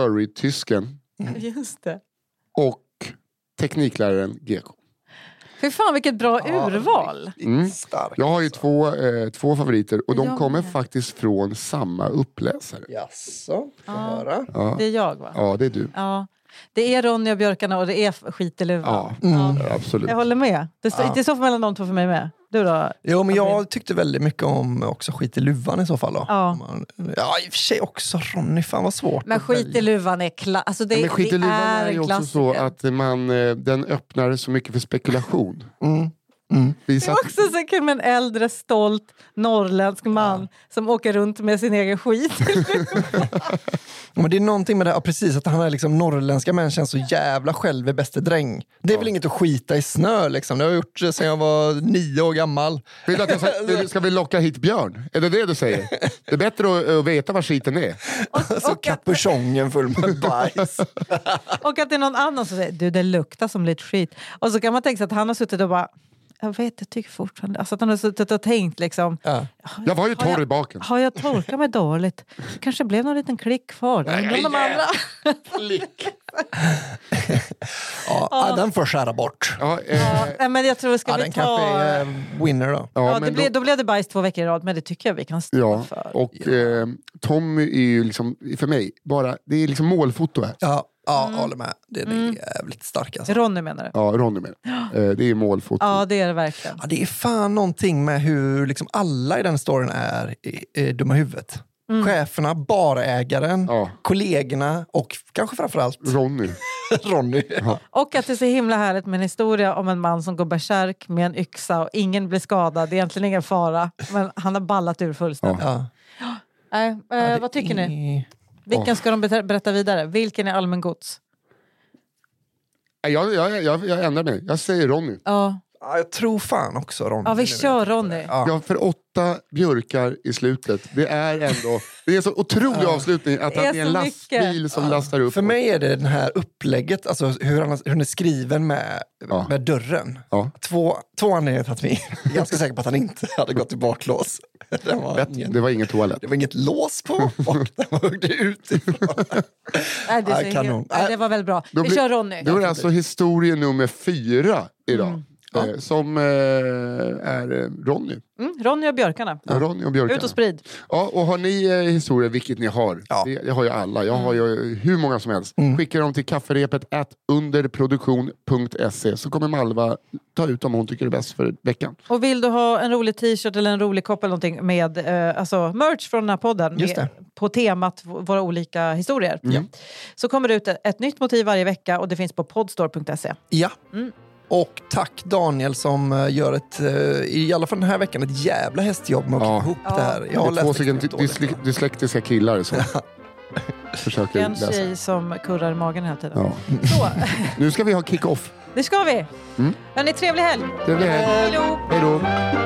[SPEAKER 3] Furry-tysken
[SPEAKER 2] Just det.
[SPEAKER 3] och teknikläraren GK.
[SPEAKER 2] Fy fan vilket bra urval.
[SPEAKER 3] Mm.
[SPEAKER 1] Stark.
[SPEAKER 3] Jag har ju två, eh, två favoriter och de
[SPEAKER 2] Jag
[SPEAKER 3] kommer
[SPEAKER 2] med.
[SPEAKER 3] faktiskt från samma uppläsare.
[SPEAKER 1] Jaså, får höra.
[SPEAKER 3] Ja,
[SPEAKER 2] Det är jag va?
[SPEAKER 3] ja det är du.
[SPEAKER 2] Ja. Det är Ronny och björkarna och det är f- skit i luvan.
[SPEAKER 3] Ja,
[SPEAKER 2] Ja. Mm.
[SPEAKER 3] absolut.
[SPEAKER 2] Jag håller med. Det, står, det är så mellan de två för mig med. Du då?
[SPEAKER 1] Jo, men
[SPEAKER 2] Gabriel.
[SPEAKER 1] jag tyckte väldigt mycket om också Skit i luvan i så fall. Då.
[SPEAKER 2] Ja.
[SPEAKER 1] Om man- ja, i och för sig också Ronny. Fan vad svårt.
[SPEAKER 2] Men
[SPEAKER 1] att
[SPEAKER 2] skit
[SPEAKER 1] välja.
[SPEAKER 2] i luvan är kla- alltså det,
[SPEAKER 3] Men skit
[SPEAKER 2] det
[SPEAKER 3] i luvan är
[SPEAKER 2] en
[SPEAKER 3] ju också så
[SPEAKER 2] klassiker.
[SPEAKER 3] att man, eh, den öppnar så mycket för spekulation.
[SPEAKER 1] Mm.
[SPEAKER 3] Vi
[SPEAKER 2] Det
[SPEAKER 3] satt,
[SPEAKER 2] var också så kul med en äldre stolt norrländsk man som åker runt med sin egen skit.
[SPEAKER 1] Men det är någonting med det här, ja, precis, att han är liksom norrländska män känns så jävla själv är bäste dräng. Det är väl inget att skita i snö liksom. Det har jag gjort eh, sedan jag var nio år gammal.
[SPEAKER 3] vill du att jag ska, vill du- ska vi locka hit Björn? Är det det du säger? Det är bättre att, att veta var skiten är.
[SPEAKER 1] Så kapuschongen Alltså, full med bajs.
[SPEAKER 2] Och att det är någon annan som säger du det luktar som lite skit. Och så kan man tänka sig att han har suttit och bara jag vet, jag tycker fortfarande... Alltså att han har suttit och tänkt liksom...
[SPEAKER 1] Ja.
[SPEAKER 3] Jag var ju
[SPEAKER 2] Har jag-
[SPEAKER 3] torr i baken.
[SPEAKER 2] Har jag torkat mig dåligt? kanske Ah, blev någon liten klick kvar. där. Undrar om de andra...
[SPEAKER 1] Ja, ja, den får skära bort.
[SPEAKER 3] Ja, eh,
[SPEAKER 2] Nej, men jag tror, ska
[SPEAKER 1] Ja,
[SPEAKER 2] vi
[SPEAKER 1] den
[SPEAKER 2] ta...
[SPEAKER 1] kanske är eh, winner då.
[SPEAKER 2] Ja,
[SPEAKER 3] ja,
[SPEAKER 2] det
[SPEAKER 3] men
[SPEAKER 2] blev, då blev det bajs två veckor i rad, men det tycker jag vi kan stå
[SPEAKER 3] Ja,
[SPEAKER 2] för.
[SPEAKER 3] och Eh, Tommy är ju liksom, för mig, bara, det är liksom målfoto här.
[SPEAKER 1] Ja, ja jag håller med. Den är jävligt stark alltså.
[SPEAKER 2] Ronny menar du?
[SPEAKER 3] Ja, Ronny menar jag. eh, Det är målfoto.
[SPEAKER 2] Ja, det är det verkligen.
[SPEAKER 1] Ja, det är fan någonting med hur liksom alla i den storyn är i, i dumma huvudet. Cheferna, barägaren,
[SPEAKER 3] Ja.
[SPEAKER 1] kollegorna och kanske framförallt
[SPEAKER 3] Ronny.
[SPEAKER 1] Ronny.
[SPEAKER 2] Och att det är så himla härligt med en historia om en man som går bärsärk med en yxa och ingen blir skadad. Det är egentligen ingen fara, men han har ballat ur fullständigt.
[SPEAKER 1] Ja.
[SPEAKER 2] Nej, eh, vad tycker ni? Vilken ska de betä- berätta vidare? Vilken är allmängods?
[SPEAKER 3] Nej, Jag, jag, jag, jag ändrar mig. Jag säger Ronny.
[SPEAKER 2] Ja,
[SPEAKER 1] Ja, jag tror fan också Ronny.
[SPEAKER 2] ja vi
[SPEAKER 1] nu.
[SPEAKER 2] kör Ronny.
[SPEAKER 1] Ja.
[SPEAKER 3] Ja, för åtta björkar i slutet. Det är ändå... Det är en så otrolig avslutning att
[SPEAKER 2] Det
[SPEAKER 3] han
[SPEAKER 2] är
[SPEAKER 3] är en
[SPEAKER 2] så
[SPEAKER 3] lastbil som lastar upp.
[SPEAKER 1] För mig är det det här upplägget, alltså hur, han, hur den är skriven med,
[SPEAKER 3] Ja.
[SPEAKER 1] med dörren.
[SPEAKER 3] Ja.
[SPEAKER 1] Två, två anledningar till att vi jag är ganska säker på att han inte hade gått i baklås. Det var, ingen,
[SPEAKER 3] Det var ingen toalett.
[SPEAKER 1] det var inget lås på och den huggde utifrån.
[SPEAKER 2] Nej, det, är så
[SPEAKER 1] Ja,
[SPEAKER 2] himla-
[SPEAKER 1] kanon.
[SPEAKER 2] Nej, det var väldigt bra.
[SPEAKER 3] Då
[SPEAKER 2] Vi
[SPEAKER 3] blir-
[SPEAKER 2] kör Ronny.
[SPEAKER 3] Det var alltså historia nummer fyra idag.
[SPEAKER 2] Mm.
[SPEAKER 3] Eh, som eh, är eh, Ronny.
[SPEAKER 2] Mm, Ronny och björkarna.
[SPEAKER 3] Ronny och björkarna.
[SPEAKER 2] Ut och sprid.
[SPEAKER 3] Ja, och har ni eh, historier, vilket ni har,
[SPEAKER 1] Ja.
[SPEAKER 3] det, det har ju alla, jag har
[SPEAKER 2] Mm.
[SPEAKER 3] ju hur många som helst, skicka dem till kafferepet at underproduktion.se så kommer Malva ta ut dem hon tycker är bäst för veckan.
[SPEAKER 2] Och vill du ha en rolig t-shirt eller en rolig kopp eller någonting med eh, alltså merch från den här podden
[SPEAKER 1] Just
[SPEAKER 2] med,
[SPEAKER 1] det.
[SPEAKER 2] på temat v- våra olika historier så kommer det ut ett, ett nytt motiv varje vecka och det finns på podstore.se.
[SPEAKER 1] Ja.
[SPEAKER 2] Mm.
[SPEAKER 1] Och tack Daniel som eh, gör ett, eh, i alla fall den här veckan, ett jävla hästjobb med att
[SPEAKER 3] Ja.
[SPEAKER 1] klippa ihop
[SPEAKER 2] Ja.
[SPEAKER 1] det här. Jag har
[SPEAKER 3] det är två
[SPEAKER 1] läst
[SPEAKER 3] stycken
[SPEAKER 1] extremt
[SPEAKER 3] dy-
[SPEAKER 1] dåligt.
[SPEAKER 3] dysle- dyslektiska killar som försöker
[SPEAKER 2] En
[SPEAKER 3] läsa.
[SPEAKER 2] tjej som kurrar i magen hela tiden.
[SPEAKER 3] Ja.
[SPEAKER 2] Så,
[SPEAKER 3] Nu ska vi ha kick-off.
[SPEAKER 2] det ska vi! Mm. Hörni, trevlig helg!
[SPEAKER 3] Trevlig helg.
[SPEAKER 2] Hej då!
[SPEAKER 3] Hej då.